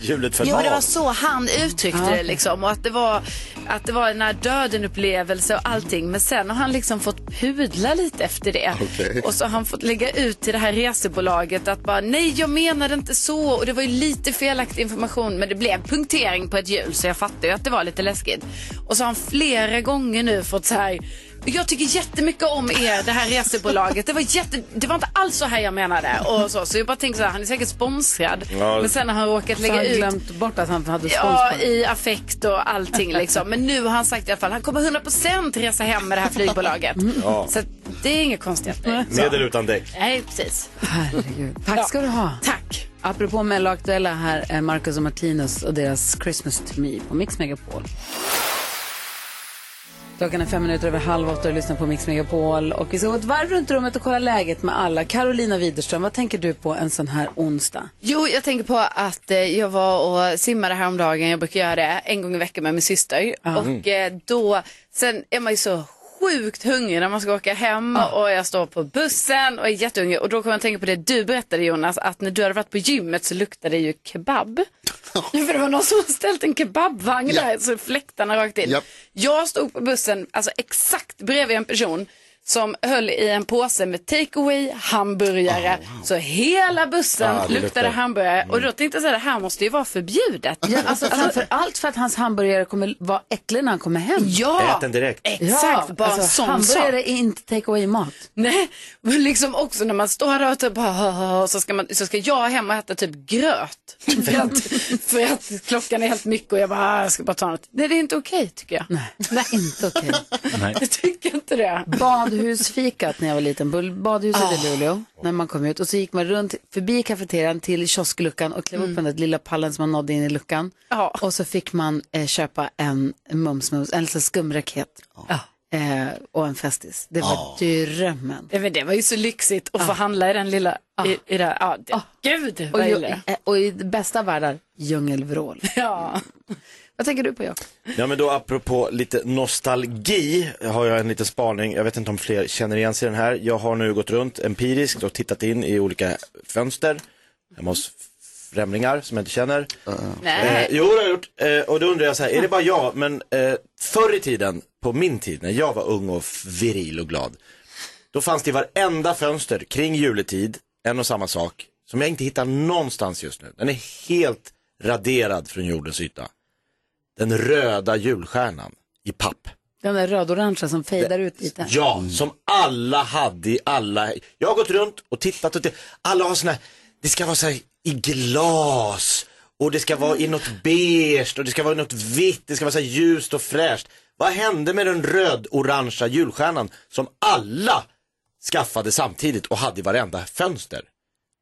Hjulet föll
Jo, det var
av.
så han uttryckte
Ja.
det liksom. Och att det var, att det var en nära döden-upplevelse och allting. Men sen har han liksom fått pudla lite efter det.
Okej.
Och så har han fått lägga ut till det här resebolaget att bara nej, jag menade inte så. Och det var ju lite felaktig information. Men det blev punktering på ett hjul så jag fattar ju att det var lite läskigt. Och så har han flera gånger nu fått så här jag tycker jättemycket om er, det här resebolaget. Det var, jätte, det var inte alls så här jag menade. Och så, så jag bara tänker så här, han är säkert sponsrad.
Ja.
Men sen har han råkat
Så
lägga
han
ut
glömt bort att han hade spons
Ja,
på det.
i affekt och allting liksom. Men nu har han sagt i alla fall, han kommer 100% resa hem med det här flygbolaget.
Mm.
Ja.
Så att det är inget konstigt.
Med eller utan däck.
Nej, precis.
Tack ska du ha. Tack. Apropå Mello-aktuella, här är Marcus och Martinus och deras Christmas to me på Mix Megapol. Klockan är fem minuter över halv åtta och lyssnar på Mix Megapol. Och vi ska gå ett varv runt rummet och kolla läget med alla. Carolina Widerström, vad tänker du på en sån här onsdag?
Jo, jag tänker på att eh, jag var och simmade häromdagen. Jag brukar göra det en gång i veckan med min syster.
Ja.
Och eh, då, sen är man ju så sjukt hungrig när man ska åka hem och jag står på bussen och är jättehungrig. Och då kommer jag att tänka på det du berättade Jonas, att när du hade varit på gymmet så luktade det ju kebab. Ja, [LAUGHS] för det var någon som hade ställt en kebabvagn där så fläktarna rakt in. Jag stod på bussen, alltså exakt bredvid en person som höll i en påse med takeaway hamburgare. Så hela bussen
Ah, det
luktade
luktar. Mm.
hamburgare. Och då tänkte jag så här, det här måste ju vara förbjudet.
[LAUGHS] Ja, alltså, framför allt för att hans hamburgare kommer vara äcklig när han kommer hem.
Ja, Exakt, bara en
alltså,
sån
Hamburgare är
sak.
inte take away-mat.
Nej, men liksom också när man står där och typ, "Ah", så, ska man, så ska jag hem och äta typ
[LAUGHS]
gröt. För att, [LAUGHS] för att klockan är helt mycket och jag bara, "Ah, jag ska bara ta något. Nej, det är inte okej tycker jag.
Nej, inte
[LAUGHS]
okej.
Nej.
Jag tycker inte det.
Badhusfikat när jag var liten, Bull- badhuset
Ah.
i Luleå, när man kom ut. Och så gick man runt förbi kafeterian till kioskluckan och klev
Mm.
upp på den där lilla pallen som man nådde in i luckan. Och så fick man eh, köpa en mums, mums, en sån skumraket. eh, och en festis. Det var
Ja.
drömmen.
Ja, men det var ju så lyxigt att få handla i den lilla, i, i det, ja, det, gud
Ah. Och,
vad
ju,
jag gillar
eh, och i bästa världar, djungelvrål.
[LAUGHS]
Mm.
Ja.
Vad tänker du på Jakob?
Ja men då apropå lite nostalgi har jag en liten spaning. Jag vet inte om fler känner igen sig i den här. Jag har nu gått runt empiriskt och tittat in i olika fönster hemma hos främlingar som jag inte känner.
Nej.
Eh, jo det har jag gjort. Eh, och då undrar jag så här, är det bara jag? Men eh, förr i tiden, på min tid när jag var ung och f- viril och glad. Då fanns det i varenda fönster kring juletid en och samma sak som jag inte hittar någonstans just nu. Den är helt raderad från jordens yta den röda julstjärnan i papp.
Den där röd-orangea som fejdar ut lite.
Ja, som alla hade i alla. Jag har gått runt och tittat och tittat. alla har såna här, det ska vara så här i glas och det ska vara i något beige och det ska vara i något vitt, det ska vara så här ljust och fräscht. Vad hände med den röd-orangea julstjärnan som alla skaffade samtidigt och hade i varenda fönster?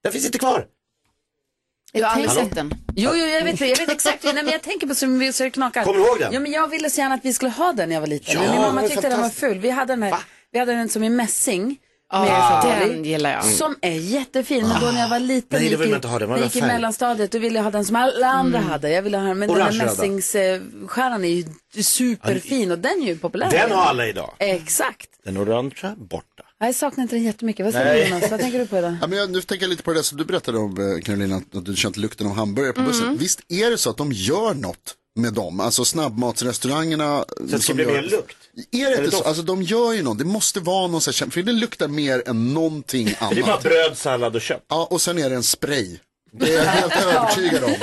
Den finns inte kvar.
Jag
har aldrig
tänker-
sett den.
Jo, jo, jag vet det. Jag vet exakt. Nej, men jag tänker på så mycket så det knakar.
Kommer du ihåg den?
Jo, men jag ville så gärna att vi skulle ha den när jag var liten.
Ja,
men min
den
mamma
är
tyckte den var
fantastisk.
ful. Vi hade den här, vi hade den som i mässing.
Ja,
med detalj,
den gillar jag.
Som är jättefin. Men då när jag var liten,
Ah. Nej, det
gick
vill
i-
man inte ha den. Vad
när jag
är
gick i
färg? Mm.
mellanstadiet, då ville jag ha den som alla andra hade. Jag ville ha den, men den där
Orange-röda.
mässingsstjärnan är ju superfin och den är ju populär.
Den har alla idag.
Exakt.
Den orangea borta.
Nej, Jag saknar inte den jättemycket. Vad säger
Nej.
du Jonas? Vad tänker du
[LAUGHS]
på idag?
Ja, men jag, nu tänker jag lite på det som du berättade om eh, Karolina, att du känt lukten av hamburgare på bussen.
Mm.
Visst är det så att de gör något med dem, alltså snabbmatsrestaurangerna. Så
det ska bli mer lukt?
Är det
Eller
inte så?
doft?
Alltså de gör ju något, det måste vara någon sån här, för det luktar mer än någonting annat.
Det är bara bröd, sallad och kött.
Ja, och sen är det en spray. Det är jag helt övertygad om.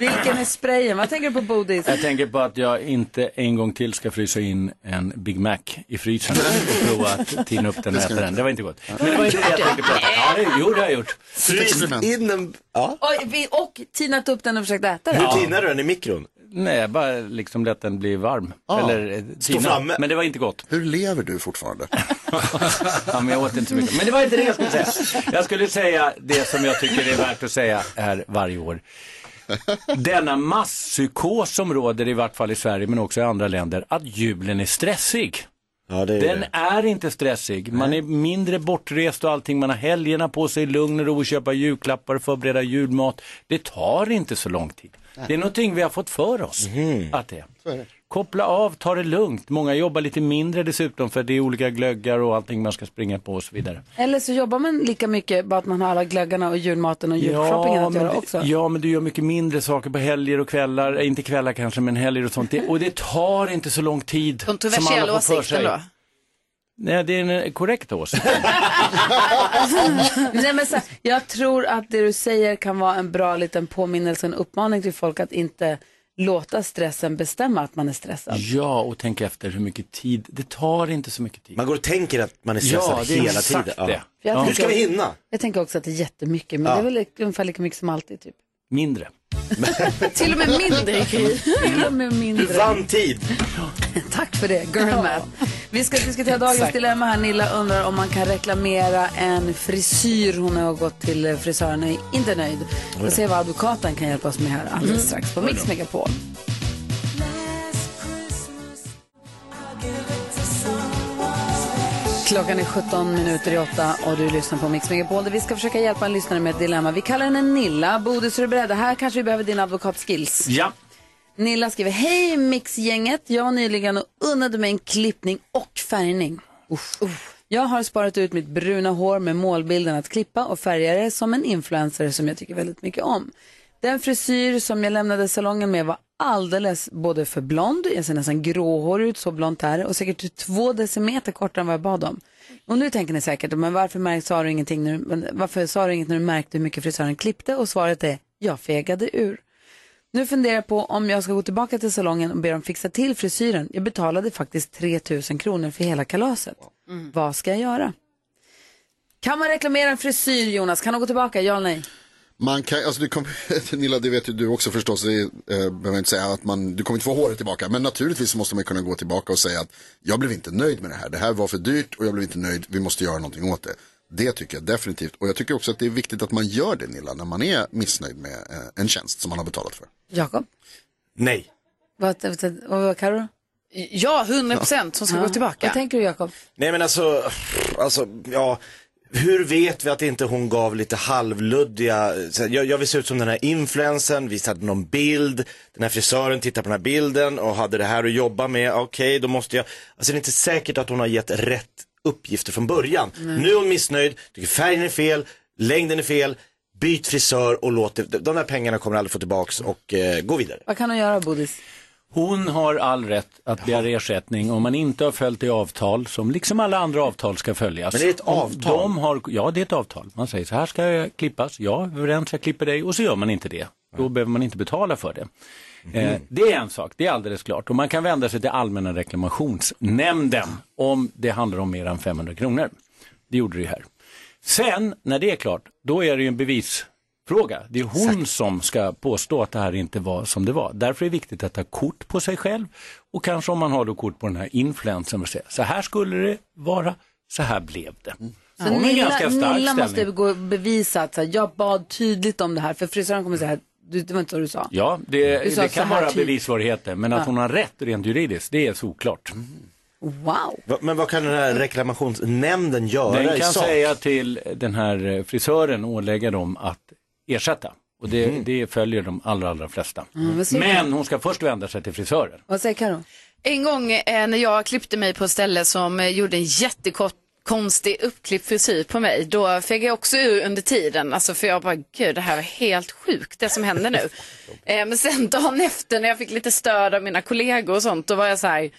Vilken är sprayen? Vad tänker du på Bodis?
Jag tänker på att jag inte en gång till ska frysa in en Big Mac i frysen och prova att tina upp den och
Det ska
äta
du
den.
inte.
Det var inte gott. Men det var inte det jag tänkte på. Ja, det, jo, det har jag gjort.
Fryst in en... Ja.
Och, vi, och tinat upp den och försökt äta den.
Ja.
Hur tinar du den i mikron?
Nej, bara liksom lät den bli varm.
Ah,
Eller eh,
stå
tina.
framme.
Men det var inte gott.
Hur lever du fortfarande?
[LAUGHS] ja, men jag åt inte så mycket. Men det var inte det jag skulle säga. Jag skulle säga det som jag tycker är värt att säga här varje år. Denna masspsykos som råder i vart fall i Sverige men också i andra länder, att julen är stressig.
är
Den
det.
är inte stressig. Man är mindre bortrest och allting. Man har helgerna på sig, lugn och ro, köpa julklappar, förbereda julmat. Det tar inte så lång tid. Det är någonting vi har fått för oss
Mhm.
att det är. Koppla av, ta det lugnt. Många jobbar lite mindre dessutom för det är olika glöggar och allting man ska springa på och så vidare.
Eller så jobbar man lika mycket bara att man har alla glöggarna och julmaten och julshoppingen att
men,
göra
det-
också.
ja, men du gör mycket mindre saker på helger och kvällar, Eh, inte kvällar kanske, men helger och sånt. Det, och det tar inte så lång tid. som alla
Kontroversiell
får för
åsikt
sig.
då?
Nej, det är en eh, korrekt åsikt.
[LAUGHS] Nej, men så, här, jag tror att det du säger kan vara en bra liten påminnelse, en uppmaning till folk att inte låta stressen bestämma att man är stressad.
Ja, och tänk efter hur mycket tid, det tar inte så mycket tid. Man
går och tänker att man är stressad
ja, det är
hela
exakt
tiden. Ja.
Det.
För jag tänker-
hinna?
Jag tänker också att det är jättemycket, men
Ja.
det är väl ungefär lika mycket som alltid. Typ.
[LAUGHS]
Mindre.
Till och med mindre, Gry. Till och med mindre.
Du vann tid.
Tack för det, girl math. Vi ska diskutera dagens
Exakt.
dilemma här. Nilla undrar om man kan reklamera en frisyr. Hon har gått till frisören och är inte nöjd. Vi får se vad advokaten kan hjälpa oss med här alldeles
Mm.
strax på
Oj då.
Mix Megapol. Klockan är 17 minuter i åtta och du lyssnar på Mix Megapol där vi ska försöka hjälpa en lyssnare med ett dilemma. Vi kallar henne Nilla. Bodis, är du beredd? Här kanske vi behöver dina advokatskills.
Ja.
Nilla skriver, hej Mixgänget. Jag var nyligen och unnade mig en klippning och färgning. Uff. Jag har sparat ut mitt bruna hår med målbilden att klippa och färga det som en influencer som jag tycker väldigt mycket om. Den frisyr som jag lämnade salongen med var alldeles både för blond, jag ser nästan gråhårig ut, så blont här och säkert två decimeter kortare än vad jag bad om. Och nu tänker ni säkert, men varför, märk- sa du ingenting när du, men varför sa du inget när du märkte hur mycket frisören klippte? Och svaret är, jag fegade ur. Nu funderar jag på om jag ska gå tillbaka till salongen och be dem fixa till frisyren. Jag betalade faktiskt 3 000 kronor för hela kalaset.
Mm.
Vad ska jag göra? Kan man reklamera en frisyr Jonas? Kan de gå tillbaka? Ja eller nej?
Man kan, alltså du kommer, [LAUGHS] Nilla, det vet ju du också förstås, det eh, behöver jag inte säga att man, du kommer inte få håret tillbaka, men naturligtvis måste man kunna gå tillbaka och säga att jag blev inte nöjd med det här, det här var för dyrt och jag blev inte nöjd, vi måste göra någonting åt det. Det tycker jag definitivt, och jag tycker också att det är viktigt att man gör det Nilla, när man är missnöjd med eh, en tjänst som man har betalat för.
Jakob?
Nej.
Vad, vad, vad, vad Karo?
Ja, 100 procent som ska gå tillbaka.
Vad tänker du Jakob?
Nej men alltså, alltså, ja. Hur vet vi att inte hon gav lite halvluddiga, så här, jag, jag vill se ut som den här influensen, vi hade någon bild, den här frisören tittar på den här bilden och hade det här att jobba med, okej då måste jag, alltså det är inte säkert att hon har gett rätt uppgifter från början.
Nej.
Nu är hon missnöjd, tycker färgen är fel, längden är fel, byt frisör och låt, det- de där pengarna kommer aldrig få tillbaks och eh, gå vidare.
Vad kan hon göra Bodis?
Hon har all rätt att begära ersättning om man inte har följt det avtal som liksom alla andra avtal ska följas.
Men det är ett
Om
avtal.
De har, ja, det är ett avtal. Man säger så här ska jag klippas, ja, överens, jag klipper dig och så gör man inte det. Då behöver man inte betala för det. Eh, det är en sak, det är alldeles klart. Och man kan vända sig till Allmänna reklamationsnämnden om det handlar om mer än 500 kronor. Det gjorde det ju här. Sen, när det är klart, då är det ju en bevisfråga. Det är hon som ska påstå att det här inte var som det var. Därför är det viktigt att ta kort på sig själv och kanske om man har då kort på den här influensen och säga så här skulle det vara, så här blev det.
Så
Hon har en
Nilla,
ganska stark
Nilla måste
ställning.
gå och bevisa att så här, jag bad tydligt om det här för frisören kommer säga att du- det var inte vad du sa.
Ja,
Du
det,
sa
det
så här typ.
kan vara
tydligt.
bevissvårigheter, men
Ja.
att hon har rätt rent juridiskt, det är såklart.
Wow.
Va- Men vad kan den här reklamationsnämnden göra
Den
i
kan
sak?
säga till den här eh, frisören och ålägga dem att ersätta. Och det,
Mm.
det följer de allra, allra flesta.
Mm, vad säger
Men hon ska först vända sig till frisören.
Vad säger Karo?
En gång eh, när jag klippte mig på ett ställe som eh, gjorde en jättekort konstig uppklippt frisyr på mig, då fick jag också ur under tiden. Alltså för jag bara, gud det här var helt sjukt det som
[LAUGHS]
händer nu. eh, men sen dagen efter när jag fick lite stöd av mina kollegor och sånt, då var jag så här,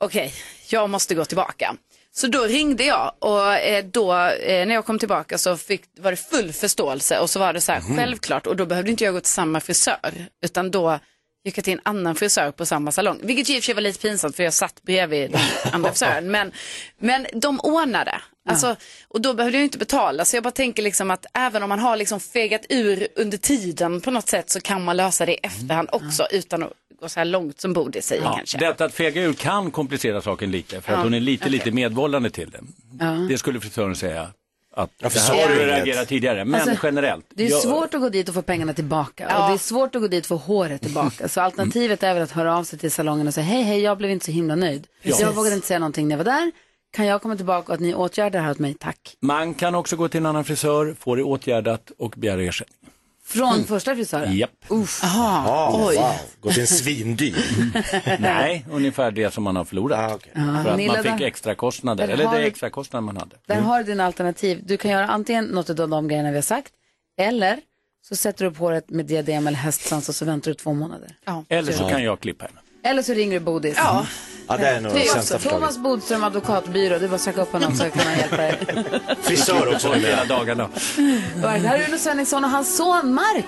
okej, jag måste gå tillbaka. Så då ringde jag och eh, då eh, när jag kom tillbaka så fick, var det full förståelse och så var det så här
Mhm.
självklart och då behövde inte jag gå till samma frisör utan då gick jag till en annan frisör på samma salong. Vilket i och för sig var lite pinsamt för jag satt
[LAUGHS]
bredvid den andra frisören. Men, men de ordnade. Alltså, Och då behövde jag ju inte betala så jag bara tänker liksom att även om man har liksom fegat ur under tiden på något sätt så kan man lösa det i
Mm.
efterhand också utan att gå så här långt som Bodis säger
Ja,
kanske.
detta att fega ur kan komplicera saken lite, för
Ja,
att hon är lite,
okej.
lite medvållande till det.
Ja.
Det skulle frisören säga att det
för
här
sa
borde
du
du
inget?
reagera tidigare, men
Alltså,
generellt.
Det är
jag-
svårt att gå dit och få pengarna tillbaka och
Ja.
det är svårt att gå dit och få håret tillbaka. Så alternativet är väl att höra av sig till salongen och säga hej, hej, jag blev inte så himla nöjd.
Ja.
Jag vågade inte säga någonting när jag var där. Kan jag komma tillbaka och att ni åtgärdar det här åt mig? Tack.
Man kan också gå till en annan frisör, få det åtgärdat och begära ersättning.
Från
Mm.
första frisören?
Japp.
Uff.
Ja,
oj.
wow.
Gå Ah, till en svindyr.
[LAUGHS]
Ah,
Nej, ungefär det som man har förlorat.
Ja,
För att
Nilla,
man fick
där-
extra kostnader
där
eller
har
det
du-
extra kostnader man hade.
Där har du dina alternativ. Du kan göra antingen något av de grejerna vi har sagt eller så sätter du upp håret med diadem eller hästsvans och så väntar du två månader.
Eller så kan jag klippa henne.
Eller så ringer du Bodis.
Ja.
Ja, det är nog det sämsta förslaget.
Thomas Bodström advokatbyrå, det är bara att söka upp honom så kan han hjälpa er.
Frisör också
På hela dagarna.
Varje- Här är Uno Svensson och hans son Mark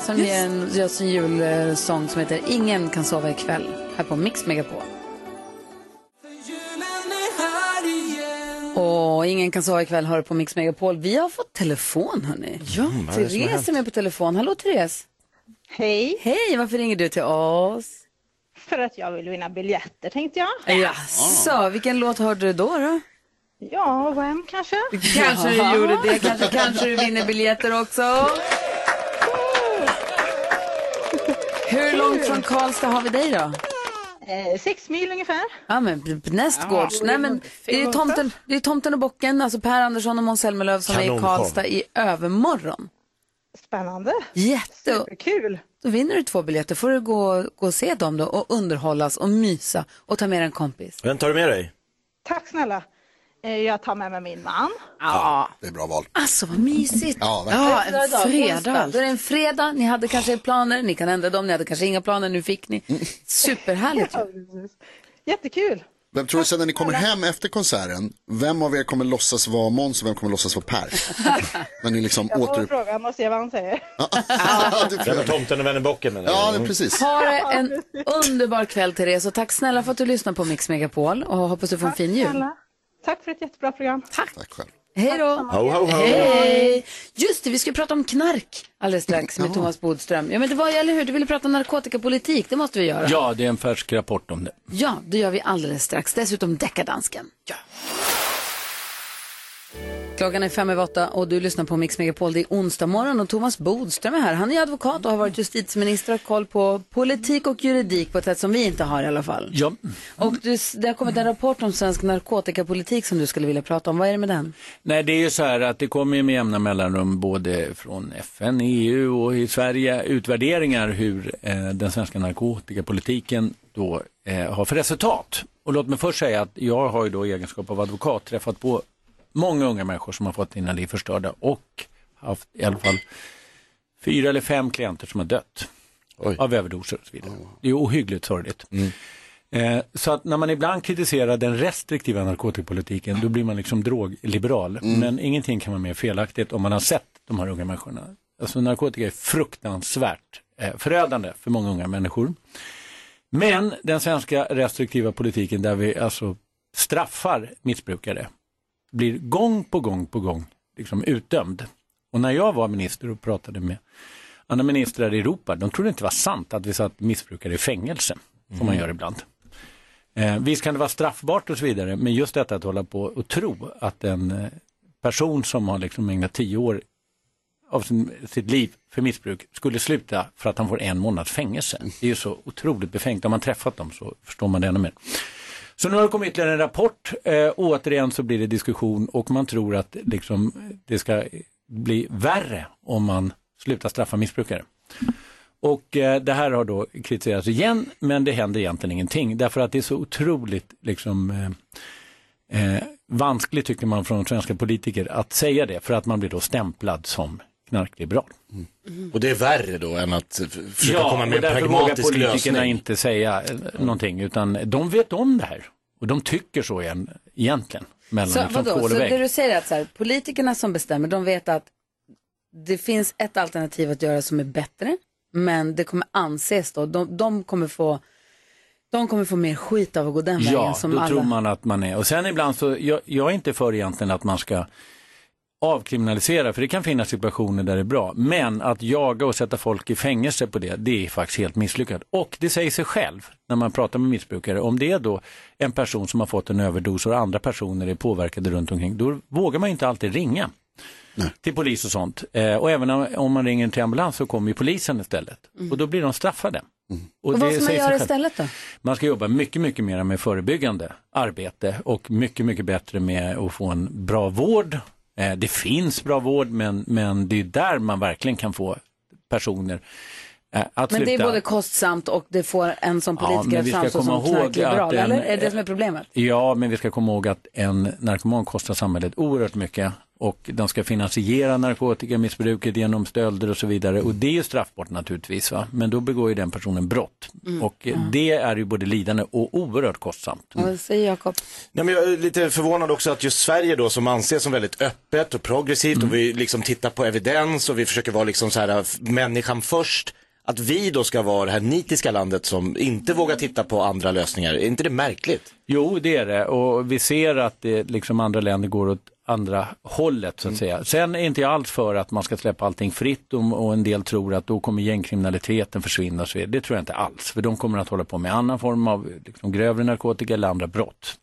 som gör en, gör sin julsång som heter Ingen kan sova ikväll här på Mix Megapol. Och Ingen kan sova ikväll hör på Mix Megapol. Vi har fått telefon hörni. Ja,
Mm, vad är det som har
Therese är med på telefon. Hallå Therese. Hej. Hej, varför ringer du till oss?
För att jag vill vinna biljetter tänkte jag.
Ja. Så, vilken låt hörde du då? då?
Ja, vem kanske?
Kanske du gjorde det, kanske, kanske du vinner biljetter också. Hur långt från Karlstad har vi dig då?
Eh, sex mil ungefär.
Ja men b- b- nästgårds.
Ja.
Nej men det är, ju tomten, det är tomten och bocken, alltså Per Andersson och Måns Zelmerlöw som är i
Kanonshow.
Karlstad i övermorgon.
Spännande.
Jätte...
Superkul.
Då vinner du två biljetter, får du gå, gå och se dem då och underhållas och mysa och ta med dig en kompis.
Vem tar du med dig?
Tack snälla. Eh, jag tar med mig min man.
Ja. Det är bra val.
Alltså vad mysigt.
Ja, verkligen.
Ja, en
Onsdag,
fredag.
onsdag.
Då är det en fredag, ni hade kanske planer, ni kan ändra dem, ni hade kanske inga planer, nu fick ni. Superhärligt ju.
Jättekul.
Vem tror du sen när ni kommer hem efter konserten, vem av er kommer låtsas vara Måns och vem kommer låtsas vara
[LAUGHS]
Per? när ni liksom
Jag får
återupp... [LAUGHS]
fråga honom och se vad han säger.
Vem är tomten och vem är bocken menar
Ja,
du?
det- precis.
Ha det en underbar kväll Therese och tack snälla för att du lyssnar på Mix Megapol och hoppas du får en fin jul.
Snälla. Tack för ett jättebra program. Tack. Tack själv.
Hej då!
Ho, ho, ho.
Hej! Just det, vi ska ju prata om knark alldeles strax med Thomas Bodström. Ja men det var ju, eller hur, du ville prata om narkotikapolitik, det måste vi göra.
Ja, det är en färsk rapport om det.
Ja, det gör vi alldeles strax. Dessutom deckardansken. Klockan är fem över åtta och du lyssnar på Mix Megapol. Det är onsdag morgon och Thomas Bodström är här. Han är advokat och har varit justitieminister och har koll på politik och juridik på ett sätt som vi inte har i alla fall.
Ja.
Och du, det har kommit en rapport om svensk narkotikapolitik som du skulle vilja prata om. Vad är det med den?
Nej, det är ju så här att det kommer ju med jämna mellanrum både från FN, EU och i Sverige utvärderingar hur eh, den svenska narkotikapolitiken då eh, har för resultat. Och låt mig först säga att jag har ju då i egenskap av advokat träffat på många unga människor som har fått sina liv förstörda och haft i alla fall fyra eller fem klienter som har dött av överdoser och så vidare. Det är ju ohyggligt sorgligt. Eh, så att när man ibland kritiserar den restriktiva narkotikapolitiken då blir man liksom drogliberal. Men ingenting kan vara mer felaktigt om man har sett de här unga människorna. Alltså narkotika är fruktansvärt eh, förödande för många unga människor. Men den svenska restriktiva politiken där vi alltså straffar missbrukare blir gång på gång på gång liksom utdömd. Och när jag var minister och pratade med andra ministrar i Europa, de trodde inte det var sant att vi satt missbrukare i fängelse, som man
Mm.
gör ibland. Eh, visst kan det vara straffbart och så vidare, men just detta att hålla på och tro att en eh, person som har liksom ägnat tio år av sin, sitt liv för missbruk skulle sluta för att han får en månads fängelse. Det är ju så otroligt befängt. Om man träffat dem så förstår man det ännu mer. Så nu har det kommit ytterligare en rapport. Eh, återigen så blir det diskussion och man tror att liksom, det ska bli värre om man slutar straffa missbrukare. Och eh, det här har då kritiserats igen, men det händer egentligen ingenting. Därför att det är så otroligt liksom, eh, eh, vanskligt, tycker man från svenska politiker, att säga det. För att man blir då stämplad som knarkliberal.
Och det Mm. är värre då än att f- försöka komma
och
med en
därför vågar
pragmatisk
politikerna
lösning.
inte säga eh, någonting, utan de vet om det här. Och de tycker så igen, egentligen, mellan
Så,
liksom
vadå?
kål
så
och
det
vägg.
du säger är att så här, politikerna som bestämmer, de vet att det finns ett alternativ att göra som är bättre, men det kommer anses då, de, de kommer få de kommer få mer skit av att gå den vägen
Ja,
som
då
alla.
tror man att man är. Och sen ibland så, jag, jag är inte för egentligen att man ska avkriminalisera, för det kan finnas situationer där det är bra. Men att jaga och sätta folk i fängelse på det, det är faktiskt helt misslyckat. Och det säger sig själv när man pratar med missbrukare. Om det är då en person som har fått en överdos och andra personer är påverkade runt omkring, då vågar man ju inte alltid ringa till polis och sånt. Eh, och även om, om man ringer till ambulans så kommer ju polisen istället. Och då blir de straffade.
Mm. Och vad
det
ska man
säger sig
göra
själv.
istället då?
Man ska jobba mycket, mycket mer med förebyggande arbete och mycket, mycket bättre med att få en bra vård. Eh, Det finns bra vård, men, men det är där man verkligen kan få personer eh, att
Men
sluta.
det är både kostsamt och det får en som
Ja,
politiker
men
att
vi ska
framstå
komma
som
ihåg
knarkliberal,
att en-
eller? Är det det som är problemet?
Ja, men vi ska komma ihåg att en narkoman kostar samhället oerhört mycket och de ska finansiera narkotikamissbruket genom stölder och så vidare och det är ju straffbart naturligtvis, va? men då begår ju den personen brott
Mm.
och eh, det är ju både lidande och oerhört kostsamt.
Ja, Vad säger Jakob?
Nej, men jag är lite förvånad också att just Sverige då som anses som väldigt öppet och progressivt och vi liksom tittar på evidens och vi försöker vara liksom så här f- människan först. Att vi då ska vara det här nitiska landet som inte vågar titta på andra lösningar. Är inte det märkligt?
Jo, det är det. Och vi ser att det, liksom andra länder går åt andra hållet så att säga. Sen är inte jag alls för att man ska släppa allting fritt och, och en del tror att då kommer gängkriminaliteten försvinna. och Så vidare. det tror jag inte alls, för de kommer att hålla på med annan form av liksom, grövre narkotika eller andra brott.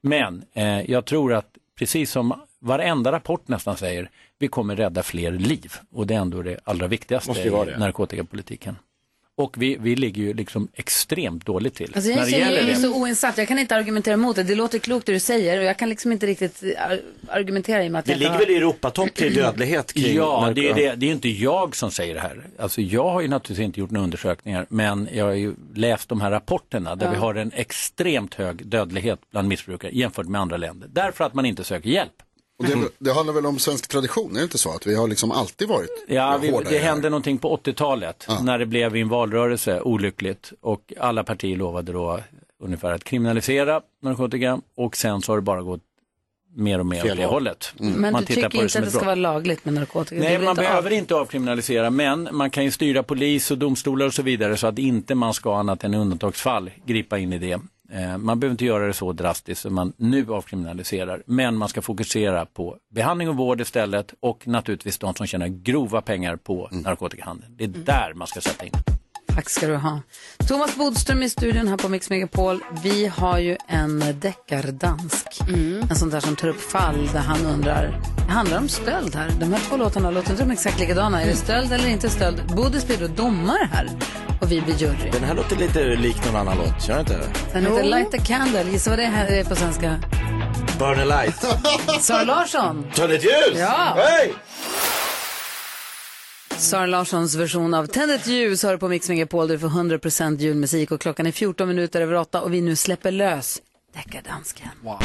Men eh, jag tror att precis som varenda rapport nästan säger, vi kommer rädda fler liv och det är ändå det allra viktigaste
Måste ju vara
i
det.
narkotikapolitiken. Och vi, vi ligger ju liksom extremt dåligt till
Alltså jag,
när
är
det
så, jag
gäller
är
det.
så oinsatt, jag kan inte argumentera emot det. Det låter klokt det du säger och jag kan liksom inte riktigt ar- argumentera i och med att
Vi
jag inte har-
ligger väl i Europatopp i dödlighet kring
Ja,
narko-
det är, det, det är inte jag som säger det här. Alltså, jag har ju naturligtvis inte gjort några undersökningar, men jag har ju läst de här rapporterna där
Ja.
vi har en extremt hög dödlighet bland missbrukare jämfört med andra länder. Därför att man inte söker hjälp.
Och
Mm.
det, är väl- det handlar väl om svensk tradition, är det inte så? Att vi har liksom alltid varit
Ja, vi,
hårda i
det
det här.
hände någonting på 80-talet när det blev i en valrörelse olyckligt och alla partier lovade då ungefär att kriminalisera narkotika och sen så har det bara gått mer och mer
Fel
åt det
håll.
hållet.
Men
Mm. Man
du
tittar på
tycker inte
som
att
ett
det ska
brott.
vara lagligt med narkotika? Det
Nej,
är väl
man
inte
behöver inte avkriminalisera, men man kan ju styra polis och domstolar och så vidare så att inte man ska annat än i undantagsfall gripa in i det. Eh, Man behöver inte göra det så drastiskt som man nu avkriminaliserar, men man ska fokusera på behandling och vård istället och naturligtvis de som tjänar grova pengar på narkotikahandeln. Det är där man ska sätta in.
Tack ska du ha. Thomas Bodström i studion här på Mix Megapol. Vi har ju en deckardansk.
Mm.
En sån där som tar upp fall där han undrar. Det handlar om stöld här. De här två låtarna låter inte som exakt likadana.
Mm.
Är det stöld eller inte stöld? Bodis blir då domare här och vi blir jury.
Den här låter lite lik någon annan låt, gör den inte?
Sen heter Light a Candle. Gissa vad det här är
[LAUGHS]
på svenska?
Burn a light.
Sara Larsson.
Tänd ett ljus!
Ja.
Hej!
Sara Larssons version av Tänd ett ljus har du på Mix Megapol. Du får 100% julmusik och klockan är 14 minuter över 8 och vi nu släpper lös deckardansken. Wow.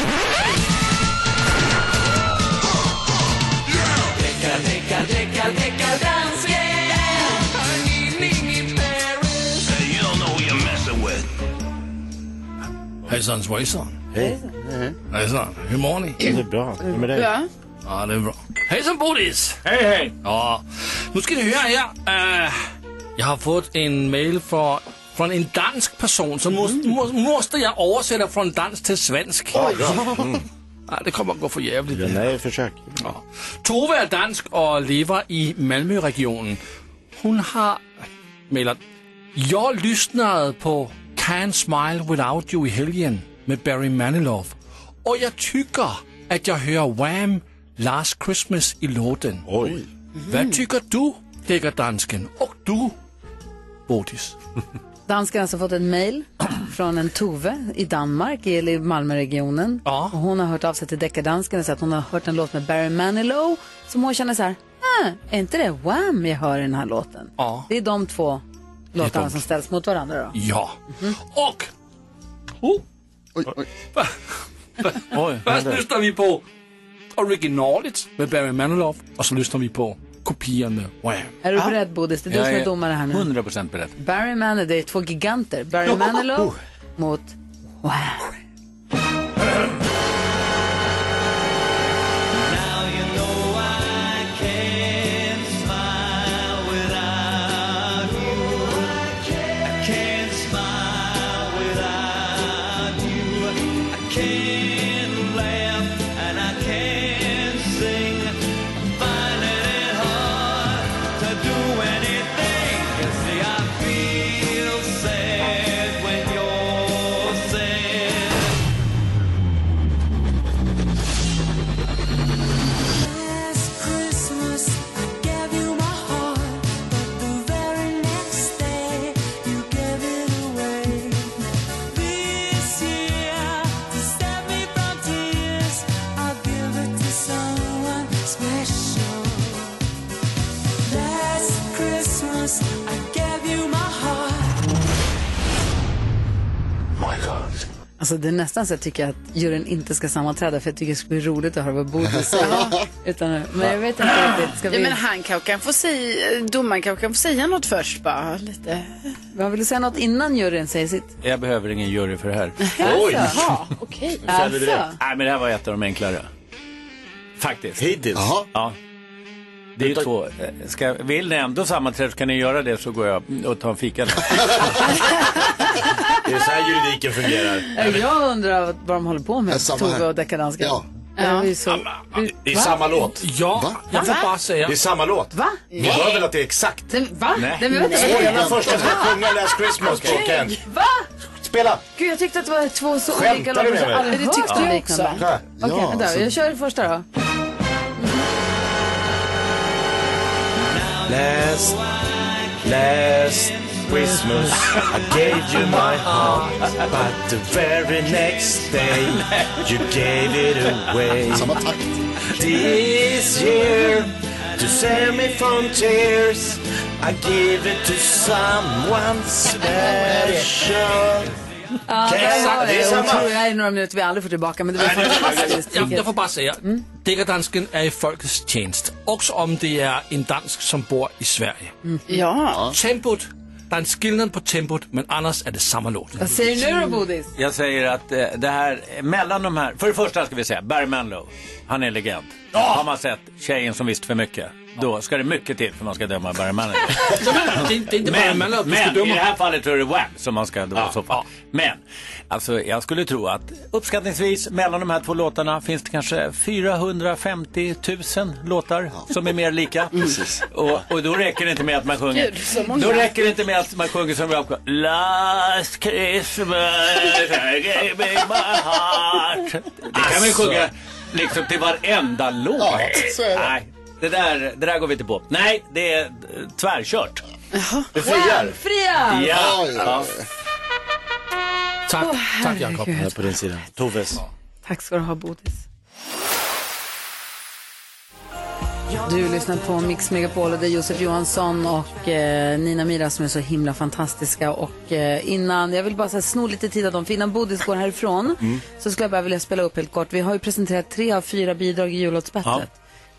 Hejsan svejsan.
Hej.
Hejsan, hur mår ni?
Det är bra. Hur är det med dig?
Bra. Ja, det är bra. Hejsan Bodis!
Hej, hej!
Ja, nu ska ni höra här. Eh, jag har fått en mail fra, från en dansk person som måste,
Mm.
må, måste jag översätta från dansk till svensk. [LAUGHS] Mm. Ja, det kommer att gå för jävligt. Ja,
nej, försök.
Ja. Tove är dansk och lever i Malmöregionen. Hon har mailat. Jag lyssnade på Can't Smile Without You i helgen med Barry Manilow. Och jag tycker att jag hör Wham! Last Christmas i låten. Oj. Vad tycker du, deckardansken? Och du, Bodis?
Dansken har alltså fått en mail [CLEARS THROAT] från en Tove i Danmark, eller i Malmöregionen. Och hon har hört av sig till deckardansken och sagt att hon har hört en låt med Barry Manilow som hon känner så här, "Ah, är inte det Wham jag hör i den här låten?
Ja.
Det är de två låtarna
de
som ställs mot varandra då.
Ja. Och... Oh.
Oj, oj.
Först lyssnar vi på originalet med Barry Manilow och så lyssnar vi på kopian med Wham. Ah.
Är du beredd Bodis? Det är du som är domare här nu.
100 procent beredd.
Barry Manilow, det är två giganter. Barry Manilow mot Wham. Alltså det är nästan så jag tycker att juryn inte ska sammanträda för jag tycker det skulle bli roligt att höra vad [LAUGHS] Bodil säger. Utan, men jag vet inte riktigt. Ska
Ja,
vi...
men han kanske kan få säga, domaren kanske kan få säga något först bara lite.
Man vill säga något innan juryn säger sitt.
Jag behöver ingen jury för det här.
Oj! Jaha, okej.
Nu kör vi direkt.
Alltså.
Nej, men det här var ett av de enklare. Faktiskt.
Hittills?
Ja. Det är ju två. eh, Ska, vill ni ändå sammanträda så kan ni göra det så går jag och tar en
[LAUGHS]
fika.
Det är så här juridiken fungerar.
Äh, Jag undrar vad vad de håller på med,
samma
Tove
här.
och deckardansken.
Ja.
Det är ju så...
Det är
Va?
samma låt.
Ja, jag får bara säga.
Det är samma låt.
Va?
Ni hör väl att det är exakt?
Den, va?
Nej.
Den, men vänta,
Spela
vänta.
första som sjunger Last Christmas på
Okej.
Kent.
Va?
Spela!
Gud, jag tyckte att det var två så
Skämtar
olika
du
låtar.
med
som
mig?
aldrig
Det
hört
tyckte
något
jag
liknande.
också. Ja.
Okej,
Ja,
vänta.
så-
Jag kör det första då.
Last, last Christmas I gave you my heart But the very next day you gave it away
Samma takt.
This year to save me from tears I give it to someone special
Ja,
Okej,
där
exakt,
var
det är
det.
samma.
Jag tror det här är några minuter vi aldrig får tillbaka, men det var fantastiskt.
Jag, jag får bara säga, deckardansken är i folkets tjänst. Också om det är en dansk som bor i Sverige.
Ja.
Tempot, det är en skillnad på tempot, men annars är det samma låt.
Vad säger du då, Bodis?
Jag säger att eh, det här, eh, mellan de här, för det första ska vi säga, Barry Manilow, han är legend. Har man sett Tjejen som visste för mycket. Då ska det mycket till för man ska döma Barry Manilow.
[LAUGHS] det är inte- det är inte Barry
men,
Manilow du ska
men
döma.
i det här fallet tror jag det är Wham som man ska döma i så fall. Men alltså, jag skulle tro att uppskattningsvis mellan de här två låtarna finns det kanske 450 000 låtar som är
[LAUGHS]
mer lika. Och, och då räcker det inte med att man sjunger.
Gud, så många.
då räcker det inte med att man sjunger som Rob Cross. Last Christmas I gave me my heart. Det kan man ju
Alltså.
sjunga liksom till varenda låt.
Ja, så är det.
Nej, det där, det där går vi inte på. Nej, det är eh, tvärkört. Det friar.
Fria!
Ja. ja.
Tack,
Åh, tack, Jakob. herregud.
Jag är på din sida. Toves.
Tack ska du ha, Bodis. Du lyssnar på Mix Megapol och det är Josef Johansson och eh, Nina Mira som är så himla fantastiska. Och eh, innan, jag vill bara så här, sno lite tid av dem, för innan Bodis går härifrån så skulle jag bara vilja spela upp helt kort. Vi har ju presenterat tre av fyra bidrag i jullåtsbattlet.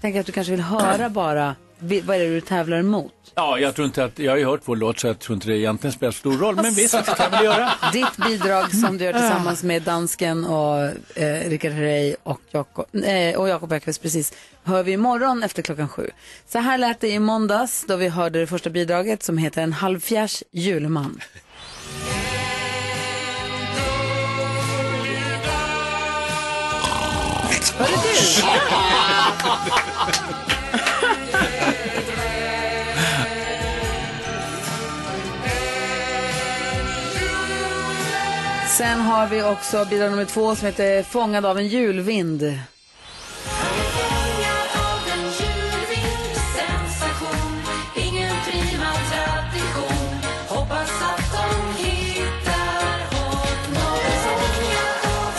Tänker att du kanske vill höra bara, vi- vad är det du tävlar emot?
ja, jag tror inte att, jag har ju hört vår låt så jag tror inte det egentligen spelar så stor roll. Men visst, det kan vi väl göra.
Ditt bidrag som du gör tillsammans med dansken och eh, Rickard Herrey och Jakob eh, och Jakob Bergqvist precis hör vi imorgon efter klockan sju. Så här lät det i måndags då vi hörde det första bidraget som heter En halvfjärs julman.
Hörru du!
[LAUGHS]
[LAUGHS] Sen har vi också bidrag nummer två som heter Fångad av en julvind.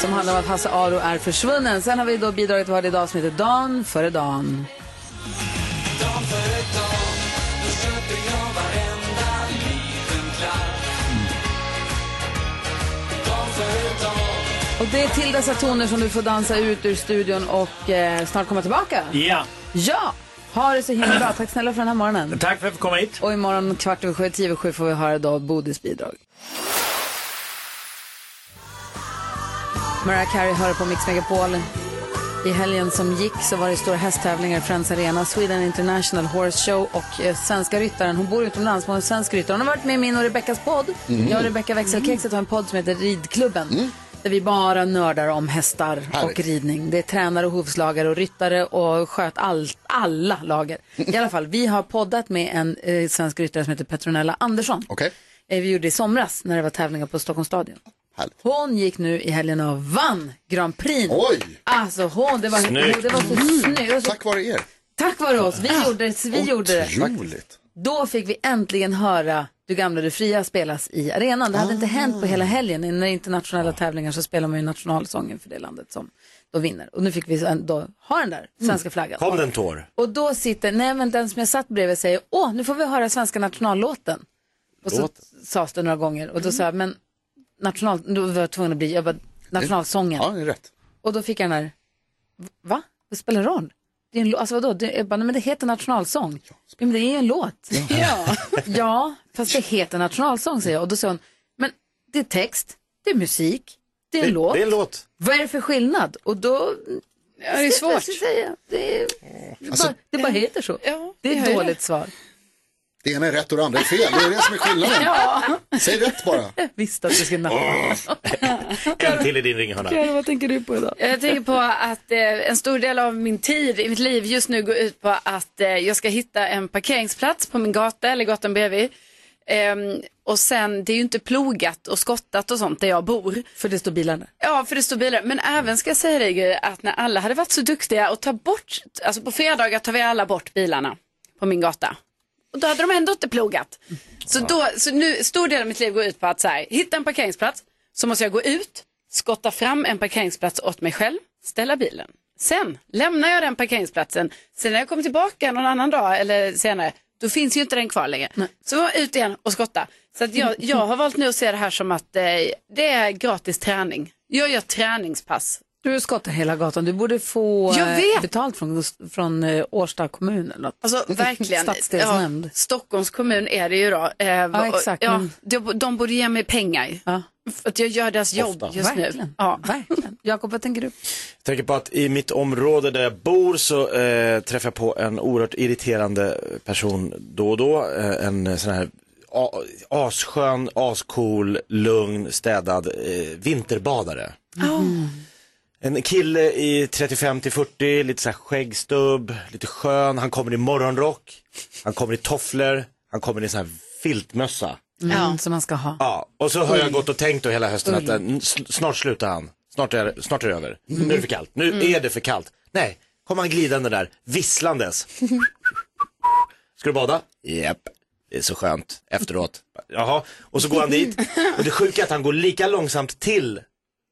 Som handlar om att Hasse Aro är försvunnen. Sen har vi då bidraget vi hörde idag som heter Dan före Dan. Och det är till dessa toner som du får dansa ut ur studion och eh, snart komma tillbaka.
Ja.
Ja! Ha det så himla bra. Tack snälla för den här
Tack
morgonen.
för att jag fick komma hit.
Och imorgon kvart över sju, tio över sju får vi höra då Bodis bidrag. Mariah Carey hör på Mix Megapol. I helgen som gick så var det stora hästtävlingar i Friends Arena, Sweden International Horse Show och eh, svenska ryttaren, hon bor utomlands men hon är svensk ryttare. Hon har varit med i min och Rebeckas podd.
Mm.
Jag och Rebecka Växelkexet har en podd som heter Ridklubben.
Mm.
Där vi bara nördar om hästar
Härligt.
och ridning. Det är tränare och hovslagare och ryttare och sköt all, alla lager. I alla fall, vi har poddat med en eh, svensk ryttare som heter Petronella Andersson.
Okay.
Eh, vi gjorde i somras när det var tävlingar på Stockholms stadion.
Härligt.
Hon gick nu i helgen och vann Grand Prix.
Oj!
Alltså hon, det var,
Snyggt. Mm.
det var så snyggt. Det var så-
Tack vare er.
Tack vare oss, vi gjorde det. Vi gjorde det.
Otroligt.
Då fick vi äntligen höra Du gamla, du fria spelas i arenan. Det hade inte hänt på
Ah.
hela helgen. Innan internationella tävlingar så spelar man ju nationalsången för det landet som då vinner. Och nu fick vi en- då ha den där
Mm.
svenska flaggan.
Mm. Kom den tår.
Och då sitter, nej men den som jag satt bredvid säger, åh nu får vi höra svenska nationallåten. Och så
Låten.
sades det några gånger och då sa jag, men national, då var jag tvungen att bli, jag bara, nationalsången.
Ja, det är rätt.
Och då fick jag den här, va? Det spelar roll. Det är en, lå- alltså vadå? Det, jag bara, nej men det heter nationalsång. Ja, men det är ju en låt. [LAUGHS] Ja. ja, fast det heter nationalsång säger jag. Och då sa hon, men det är text, det är musik, det är en låt.
Det är en låt.
Vad är det för skillnad? Och då...
Ja, det är svårt.
Jag ska säga. Det, är,
Alltså-
bara, det bara heter så. det
det
är
gör
ett
det.
dåligt svar.
Det ena är rätt och det andra är fel. Det är det som är skillnaden.
[LAUGHS] Ja.
Säg rätt bara.
Jag visste att du skulle
[LAUGHS] En till i din ringhörna.
Karo, vad tänker du på idag?
Jag tänker på att eh, en stor del av min tid i mitt liv just nu går ut på att eh, jag ska hitta en parkeringsplats på min gata eller gatan bredvid. Ehm, och sen, det är ju inte plogat och skottat och sånt där jag bor.
För det står bilarna.
Ja, för det står bilar. Men även ska jag säga dig Gry, att när alla hade varit så duktiga och ta bort, alltså på fredagar tar vi alla bort bilarna på min gata. Och då hade de ändå inte plogat. Så, då, så nu, stor del av mitt liv går ut på att så här, hitta en parkeringsplats, så måste jag gå ut, skotta fram en parkeringsplats åt mig själv, ställa bilen. Sen lämnar jag den parkeringsplatsen, sen när jag kommer tillbaka någon annan dag eller senare, då finns ju inte den kvar längre. Så jag ut igen och skotta. Så att jag, jag har valt nu att se det här som att eh, det är gratis träning. Jag gör träningspass.
Du skottar hela gatan. Du borde få
Jag
eh,
vet.
betalt från, från eh, Årsta kommun eller något.
Alltså
[LAUGHS]
verkligen.
Stadsdelsnämnd.
Ja, Stockholms kommun är det ju då. Eh,
Ja, exakt, Mm.
Ja,
men-
de, de borde ge mig pengar.
För att jag gör deras jobb
Ofta.
just nu.
Verkligen. Ja.
[LAUGHS]
Verkligen. Jakob, vad tänker du?
Jag tänker på att i mitt område där jag bor så eh, träffar jag på en oerhört irriterande person då och då. Eh, en sån här a- asskön, ascool, lugn, städad eh, vinterbadare.
Oh.
En kille i 35 till 40, lite så här skäggstubb, lite skön. Han kommer i morgonrock, han kommer i tofflor, han kommer i en sån här filtmössa.
Mm. Som man ska ha.
Ja, och så har
Oj.
jag gått och tänkt då hela hösten att
Oj. Mm.
eh, n- sn- snart slutar han. Snart är, snart är det över. Nu är det för kallt. Nu är det för kallt. Nej, kom han glidande där,
[LAUGHS]
visslandes. Ska du bada? Japp. Det är så skönt efteråt. Jaha, och så går han dit. Och det sjuka är att han går lika långsamt till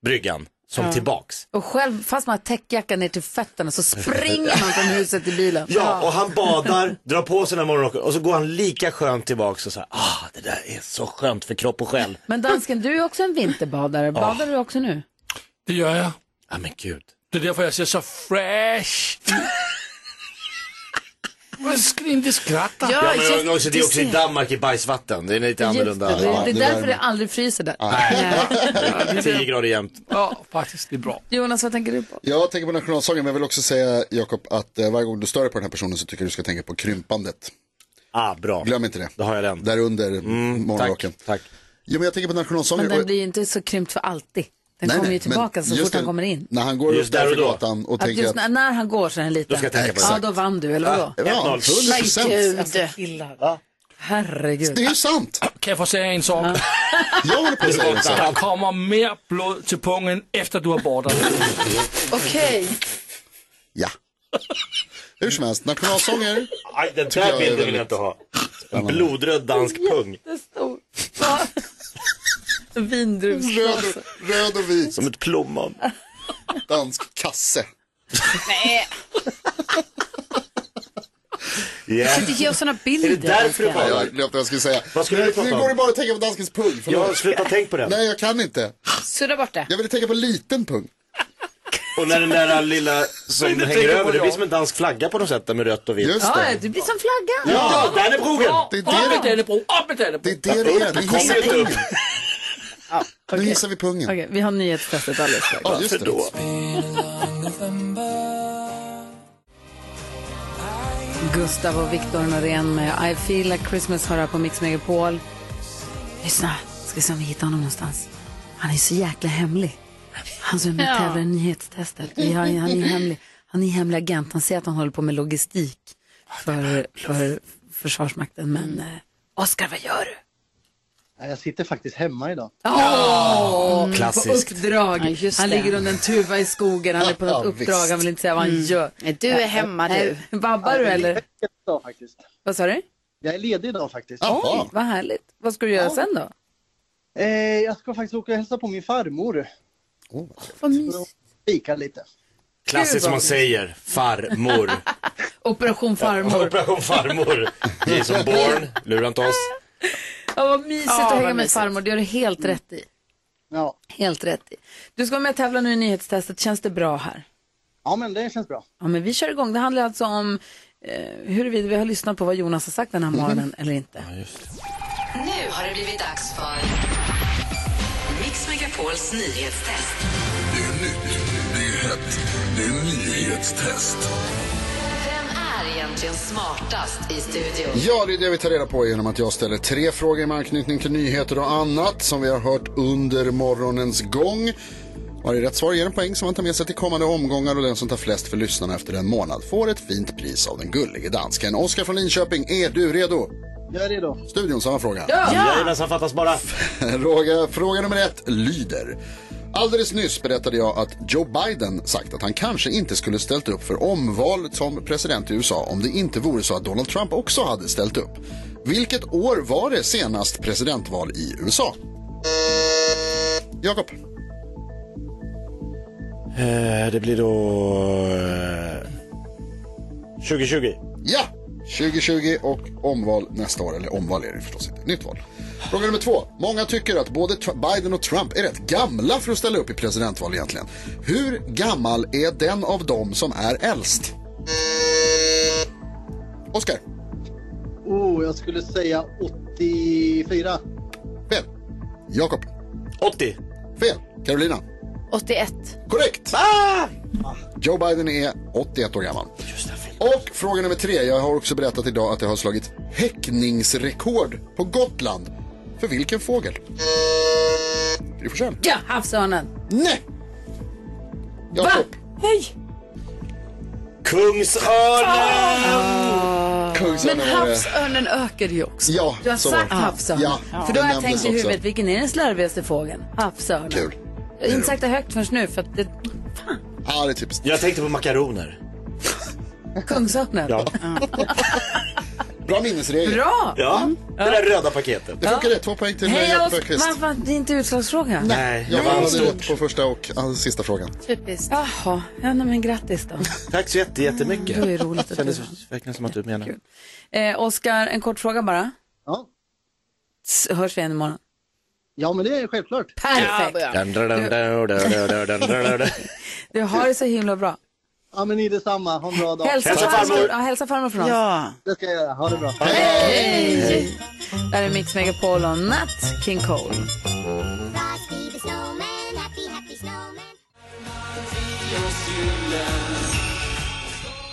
bryggan som
Ja.
tillbaks.
Och själv, fast man har täckjackan ner till fötterna så springer man från huset till bilen.
Ja, och han
[LAUGHS]
badar, drar på sig den här morgonrocken och så går han lika skönt tillbaks och så här, ah, det där är så skönt för kropp och själ.
Men dansken, du är också en vinterbadare. Badar du också nu?
Det gör jag.
Ja, men gud.
Det är därför jag ser så fresh Vad skrin du skrattar.
Ja, men också, det är också i Danmark i bajsvatten. Det är lite annorlunda.
Just det, det, det är därför det aldrig fryser där. [LAUGHS]
[LAUGHS] Nej, 10 grader jämt.
Ja, faktiskt. Det är bra.
Jonas, vad tänker du på?
Jag tänker på nationalsången, men jag vill också säga Jakob att eh, varje gång du stör dig på den här personen så tycker jag du ska tänka på krympandet.
Ah, bra.
Glöm inte det.
Då har jag den.
Där under mm, morgonrocken.
Tack, tack.
Jo, men jag tänker på nationalsången.
Men den blir ju inte så krympt för alltid. Den
Nej,
kommer
nej,
ju tillbaka
men
så
just
fort han
det-
kommer in.
När han går
Just
upp
där
där för
och då.
gatan och
att
tänker
just
att...
när, när han går så är den liten.
Då ska jag tänka på det.
ja, då vann du, eller vadå?
Ja, ja, 100%.
Herregud.
Alltså,
killar. Herregud.
Det är ju sant.
Kan jag få säga en sak?
Jag håller på att säga en sak.
Det kommer mer blod till pungen efter du har badat.
Okej.
Ja. Hur som helst, nationalsånger.
Aj, den
Tycker jag
där
är
bilden vill
väldigt
jag inte ha. En blodröd dansk pung.
[LAUGHS] Röd,
Vindruvsblåsa.
och- röd och vit.
Som ett plommon.
Dansk kasse.
Nej,
Yeah.
kan inte ge oss sådana bilder.
Ja, jag glömde vad jag skulle säga.
Vad skulle du
nu,
prata
nu
om?
går det bara att tänka på danskens pung. förlåt.
Ja, sluta tänk på den.
Nej, jag kan inte.
Sudda bort det.
Jag ville tänka på liten pung.
Och när den där lilla som
inte
hänger
tänker på
över, det
jag.
blir som en dansk flagga på något sätt där med rött och vitt.
Just
Ja, det blir som flaggan.
Ja, Dannebrogen!
Ja,
Det är
Upp med
det,
Dannebro, upp med Dannebro.
det, är det det är. Nu
Kommer
hissar
ju
vi
inte upp.
pungen. Nu
Okej.
hissar vi pungen.
Okej, vi har nyhetstestet alldeles strax.
Ja, just det.
Gustav och Viktor Norén med I feel like Christmas hör här på Mix Megapol. Lyssna, ska se om vi hittar honom någonstans. Han är så jäkla hemlig. Han som är med och
Ja.
tävlar i nyhetstestet. Vi har, han är hemlig. Han är hemlig agent. Han säger att han håller på med logistik för, för Försvarsmakten. Men eh, Oskar, vad gör du?
Mm. Jag sitter faktiskt hemma idag.
Åh,
Klassiskt.
På uppdrag.
Ja, just
han
det.
ligger under en tuva i skogen. Han är på något
Ja,
uppdrag.
visst.
Han vill inte säga vad han
Mm.
gör.
Nej, du är hemma,
Nej,
du.
Vabbar du eller?
Idag, faktiskt.
Vad sa du?
Jag är ledig idag faktiskt.
Oj, vad härligt. Vad ska du göra sen då?
Eh, jag ska faktiskt åka och hälsa på min farmor.
Vad mysigt.
Fika lite.
Klassiskt som man säger, farmor.
[LAUGHS] Operation farmor.
[LAUGHS] Operation farmor. Jason Bourne, lura inte oss.
Ja, vad mysigt
Ja,
att
vad
hänga med
mysigt.
farmor. Det gör du helt rätt i.
Mm. Ja.
Helt rätt i. Du ska vara med och tävla nu i nyhetstestet. Känns det bra här?
Ja, men det känns bra.
Ja, men vi kör igång. Det handlar alltså om eh, huruvida vi har lyssnat på vad Jonas har sagt den
Mhm.
här morgonen eller inte.
Nu har det blivit dags för Mix Megapols nyhetstest.
Det är nytt, det är hett, det är nyhetstest.
Vem är egentligen smartast i studion?
Ja, det är det vi tar reda på genom att jag ställer tre frågor med anknytning till nyheter och annat som vi har hört under morgonens gång. Varje rätt svar ger en poäng som man tar med sig till kommande omgångar och den som tar flest för lyssnarna efter en månad får ett fint pris av den gullige dansken. Oskar från Linköping, är du redo?
Jag är redo.
Studion, samma fråga.
Jajamensan,
[LAUGHS]
fattas bara.
Fråga, fråga nummer ett lyder. Alldeles nyss berättade jag att Joe Biden sagt att han kanske inte skulle ställt upp för omval som president i USA om det inte vore så att Donald Trump också hade ställt upp. Vilket år var det senast presidentval i USA? Jakob.
Eh, Det blir då... eh, 2020.
Ja! 2020 och omval nästa år. Eller omval är det förstås inte. Nytt val. Fråga nummer två. Många tycker att både Tr- Biden och Trump är rätt gamla för att ställa upp i presidentval egentligen. Hur gammal är den av dem som är äldst? Oscar.
Oh, jag skulle säga 84.
Jakob.
80.
Fel. Carolina.
81.
Korrekt. Joe Biden är 81 år gammal. Och fråga nummer tre. Jag har också berättat idag att jag har slagit häckningsrekord på Gotland. För vilken fågel? Gry Forssell.
Ja, havsörnen.
Nej! Jag Va?
Hej! Ah.
Kungsörnen!
Kungsörnen
Men
var det.
havsörnen ökar ju också.
Ja,
Du har
så
sagt
var det.
havsörn.
Ja,
För då
den
har jag
nämndes
tänkt i
också.
huvudet, vilken är den slarvigaste fågeln? Havsörnen.
Kul.
Jag har inte sagt det högt förrän nu, för att det...
Ja, det är typiskt.
Jag tänkte på makaroner.
Kungsörnen.
Ja.
Bra minnesregel.
Bra! Mm.
Ja, det där röda paketet.
Det funkar rätt. Två poäng till
Hej
Jakob
oss!
Bergqvist.
Va, va, det är inte utslagsfråga?
Nej,
Jag
Nej.
vann stort på första och eh, sista frågan.
Typiskt. Jaha, ja, nej, men grattis då.
Tack så jätte, jättemycket.
Mm, Det var ju roligt att du
Kändes verkligen som att du menar.
Eh, Oskar, en kort fråga bara.
Ja.
S- Hörs vi igen imorgon?
Ja, men det är självklart.
Perfekt.
Dun, dun, dun, dun, dun, dun, dun, dun,
[LAUGHS]
dun.
Du har det så himla bra.
Ja, men ni detsamma. Ha en bra dag.
Hälsa, farmor. Ja, hälsa farmor från oss.
Det ska jag göra. Ha det bra.
Hej! Där är Mix Megapol och Nat King Cole.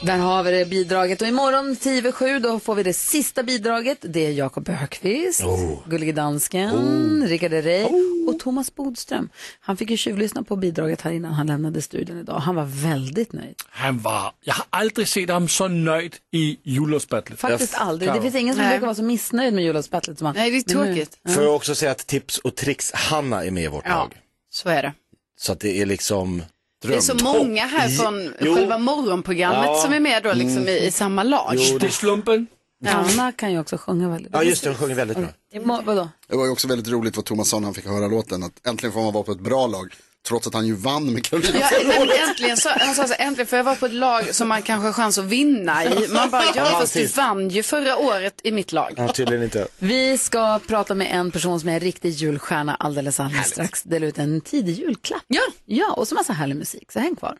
Där har vi det bidraget. Och imorgon 10 över 7 då får vi det sista bidraget. Det är Jakob Högqvist,
Oh.
Gullige Dansken, Rickard Herrey och Thomas Bodström. Han fick ju tjuvlyssna på bidraget här innan han lämnade studion idag. Han var väldigt nöjd.
Han var, jag har aldrig sett honom så nöjd i jullåtsbattlet.
Faktiskt aldrig. Det finns ingen som
Nej.
brukar vara så missnöjd med jullåtsbattlet som han.
Nej, det är
Men nu-
tråkigt.
Mm. Får jag också säga att Tips och Tricks-Hanna är med i vårt
Ja,
lag.
så är det.
Så att det är liksom
Det är så
drömtopp.
många här från
Jo.
själva morgonprogrammet
Ja. Mm.
som är med då liksom i, i samma lag.
Jo, det-
slumpen.
Anna kan ju också sjunga väldigt bra.
Ja, just det, hon sjunger väldigt bra.
Må- vadå?
Det var ju också väldigt roligt vad Thomas sa när han fick höra låten. Att äntligen får man vara på ett bra lag. Trots att han ju vann med Karolina
Ja,
förra
nej, men
året.
äntligen, så, han sa så, här, äntligen får jag vara på ett lag som man kanske har chans att vinna i. Man bara,
Ja,
ja fast du
precis.
vann ju förra året i mitt lag.
Ja, tydligen inte.
Vi ska prata med en person som är en riktig julstjärna alldeles, alldeles strax. Dela ut en tidig julklapp. Ja. ja, och så massa härlig musik, så häng kvar.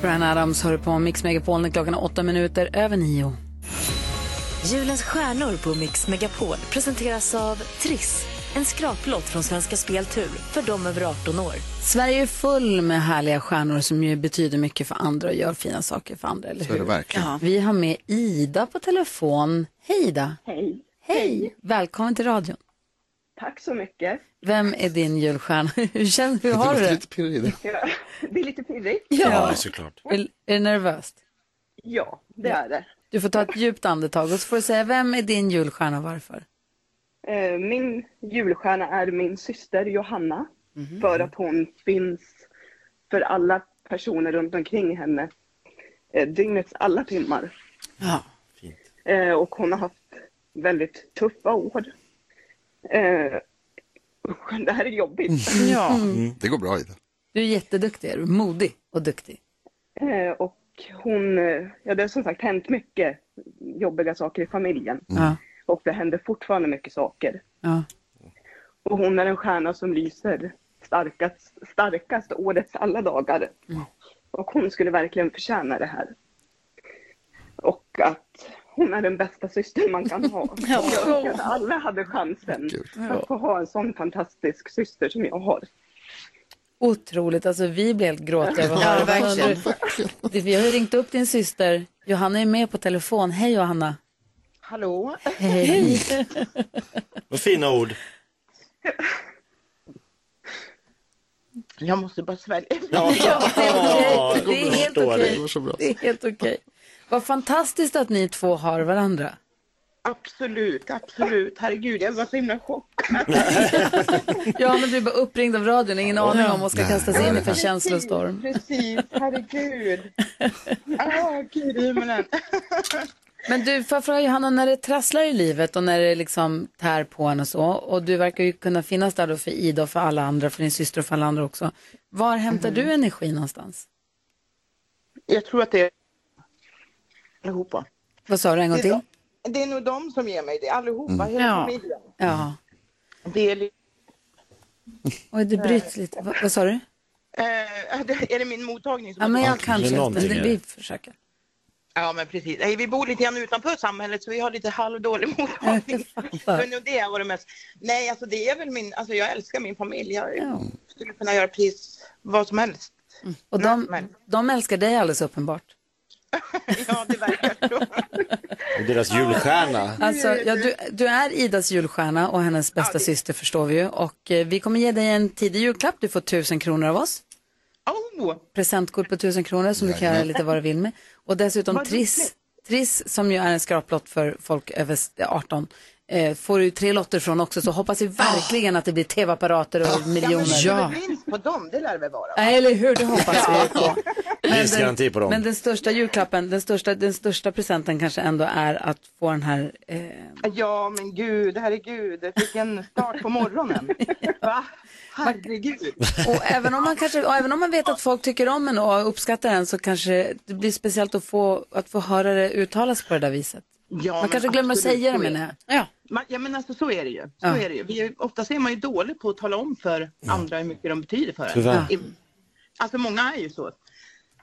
Brian Adams hör på Mix Megapol när klockan är åtta minuter över nio.
Julens stjärnor på Mix Megapol presenteras av Triss. En skraplott från Svenska Speltur för de över 18 år.
Sverige är full med härliga stjärnor som ju betyder mycket för andra och gör fina saker för andra, eller
Så
hur?
är det verkligen. Ja.
Vi har med Ida på telefon. Hej Ida!
Hej.
Hej! Välkommen till radion.
Tack så mycket.
Vem är din julstjärna? [LAUGHS] hur, känner, hur har du det?
låter lite Ja, [LAUGHS] Det är lite pirrigt.
såklart.
Är, är det nervöst?
Ja, det är det.
Du får ta ett djupt andetag och så får du säga vem är din julstjärna och varför.
Eh, Min julstjärna är min syster Johanna. För att hon finns för alla personer runt omkring henne. eh, Dygnets alla timmar.
Ja.
Eh, Och hon har haft väldigt tuffa år. Eh, usch, Det här är jobbigt.
Mm, Det går bra Ida.
Du är jätteduktig, är du modig och duktig.
Eh, Och hon, eh, ja det har som sagt hänt mycket jobbiga saker i familjen.
Mm.
Ja.
Och det händer fortfarande mycket saker.
Ja.
Och hon är en stjärna som lyser starkast, starkast årets alla dagar. Och hon skulle verkligen förtjäna det här. Och att hon är den bästa systern man kan ha.
Ja.
Jag önskar att alla hade chansen att få ha en sån fantastisk syster som jag har.
Otroligt, alltså vi blev helt gråtiga över att
Ja,
höra det.
verkligen.
Du- Vi har ju ringt upp din syster, Johanna är med på telefon. Hej Johanna!
Hallå?
Hej!
Vad fina ord.
Jag måste bara svälja.
Ja,
okej.
går
Det är
bra.
helt okej.
Förstår det. Det går så bra.
Det är helt okej. Vad fantastiskt att ni två har varandra.
Absolut, absolut. Herregud, jag var så himla chockad.
[LAUGHS] Ja, men du är bara uppringd av radion, ingen aning om vad ska kasta sig in i för känslostorm.
Precis, herregud. Ah, gud i himlen.
Men du, får jag fråga Johanna, när det trasslar i livet och när det liksom tär på en och så, och du verkar ju kunna finnas där då för Ida och för alla andra, för din syster och för alla andra också. Var hämtar du energi någonstans?
Jag tror att det är allihopa.
Vad sa du en gång till?
Det är nog de som ger mig det, allihopa,
Mm.
hela
Ja.
familjen.
Ja.
Det är, li-
Oj, det bryts lite. Va, vad sa du?
eh, är det- är det min mottagning som
Ja, men
är
jag kanske, men
dålig?
det, vi försöker.
Ja, men precis. Nej, vi bor lite grann utanför samhället så vi har lite halvdålig mottagning. men nog det var det mest. Nej, alltså det är väl min, alltså jag älskar min familj. Jag skulle kunna göra precis vad som helst.
Mm. Och de, de älskar dig alldeles uppenbart.
Och deras julstjärna.
Alltså, ja, du, du är Idas julstjärna och hennes bästa syster förstår vi ju. Och eh, vi kommer ge dig en tidig julklapp. Du får tusen kronor av oss. Presentkort på tusen kronor som du kan göra
Jajamän.
lite vad du vill med. Och dessutom
Vad
Triss, Triss som ju är en skraplott för folk över s- 18, eh, får du ju tre lotter från också. Så hoppas vi verkligen att det blir tv-apparater och miljoner.
Ja, men det är väl vinst på dem, det lär det vara.
Ja, Eller hur, det hoppas vi.
Livsgaranti på dem.
Men den största julklappen, den största, den största presenten kanske ändå är att få den här eh,
Ja, men gud, herregud, vilken start
[LAUGHS]
på morgonen. Va? Herregud.
Och även om man, kanske, och även om man vet att folk tycker om en och uppskattar en så kanske det blir speciellt att få, att få höra det uttalas på det där viset.
Ja,
man
men
kanske glömmer att
absolut,
säga det
så är
menar jag.
Ja. Man, ja, men alltså så är det ju. Så
Ja.
är det ju. Vi är, oftast är man ju dålig på att tala om för andra hur mycket de betyder för en.
Tyvärr.
I- Alltså många är ju så.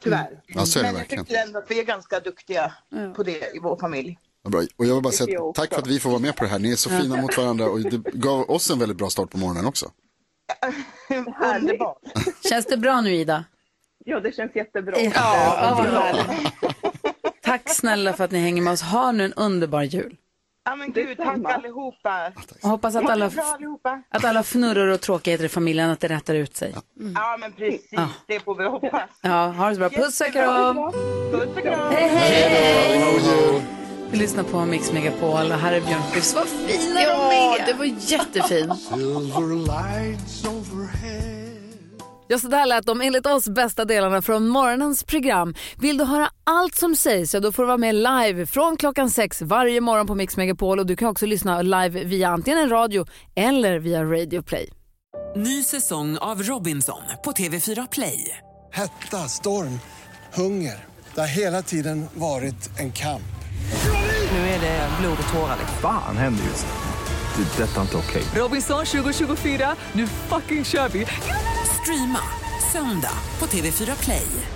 Tyvärr.
Mm. Ja, så är det
men jag
verkligen.
tycker ändå att vi är ganska duktiga på det i vår familj.
Vad Bra. Och jag vill bara
Tycker
säga
jag också.
tack för att vi får vara med på det här. Ni är så
Ja.
fina mot varandra och det gav oss en väldigt bra start på morgonen också.
Underbart.
Känns det bra nu Ida?
Ja, det känns jättebra.
Ja,
ja,
vad Tack snälla för att ni hänger med oss. Ha nu en underbar jul.
ja men gud, tack allihopa.
Och hoppas att
Ha det
alla,
bra allihopa.
att alla fnurror och tråkigheter i familjen att det rättar ut sig.
Ja, men precis.
Mm. Ja.
Det får vi hoppas.
Ja, ha det så bra. Puss och kram!
Puss och kram.
Hej, hej!
é, Hej då.
Vi lyssnar på Mix Megapol och här är Björn Skifs. Vad fina de är!
det var jättefin.
Ja, så där lät de enligt oss bästa delarna från morgonens program. Vill du höra allt som sägs så då får du vara med live från klockan sex varje morgon på Mix Megapol och du kan också lyssna live via antingen en radio eller via Radio Play.
Ny säsong av Robinson på TV4 Play.
Hetta, storm, hunger. Det har hela tiden varit en kamp.
Nu är det blod och tårar. liksom.
Fan händer just det. Det är detta inte okej.
Robinson 2024, nu fucking kör vi! Streama söndag på TV4 Play.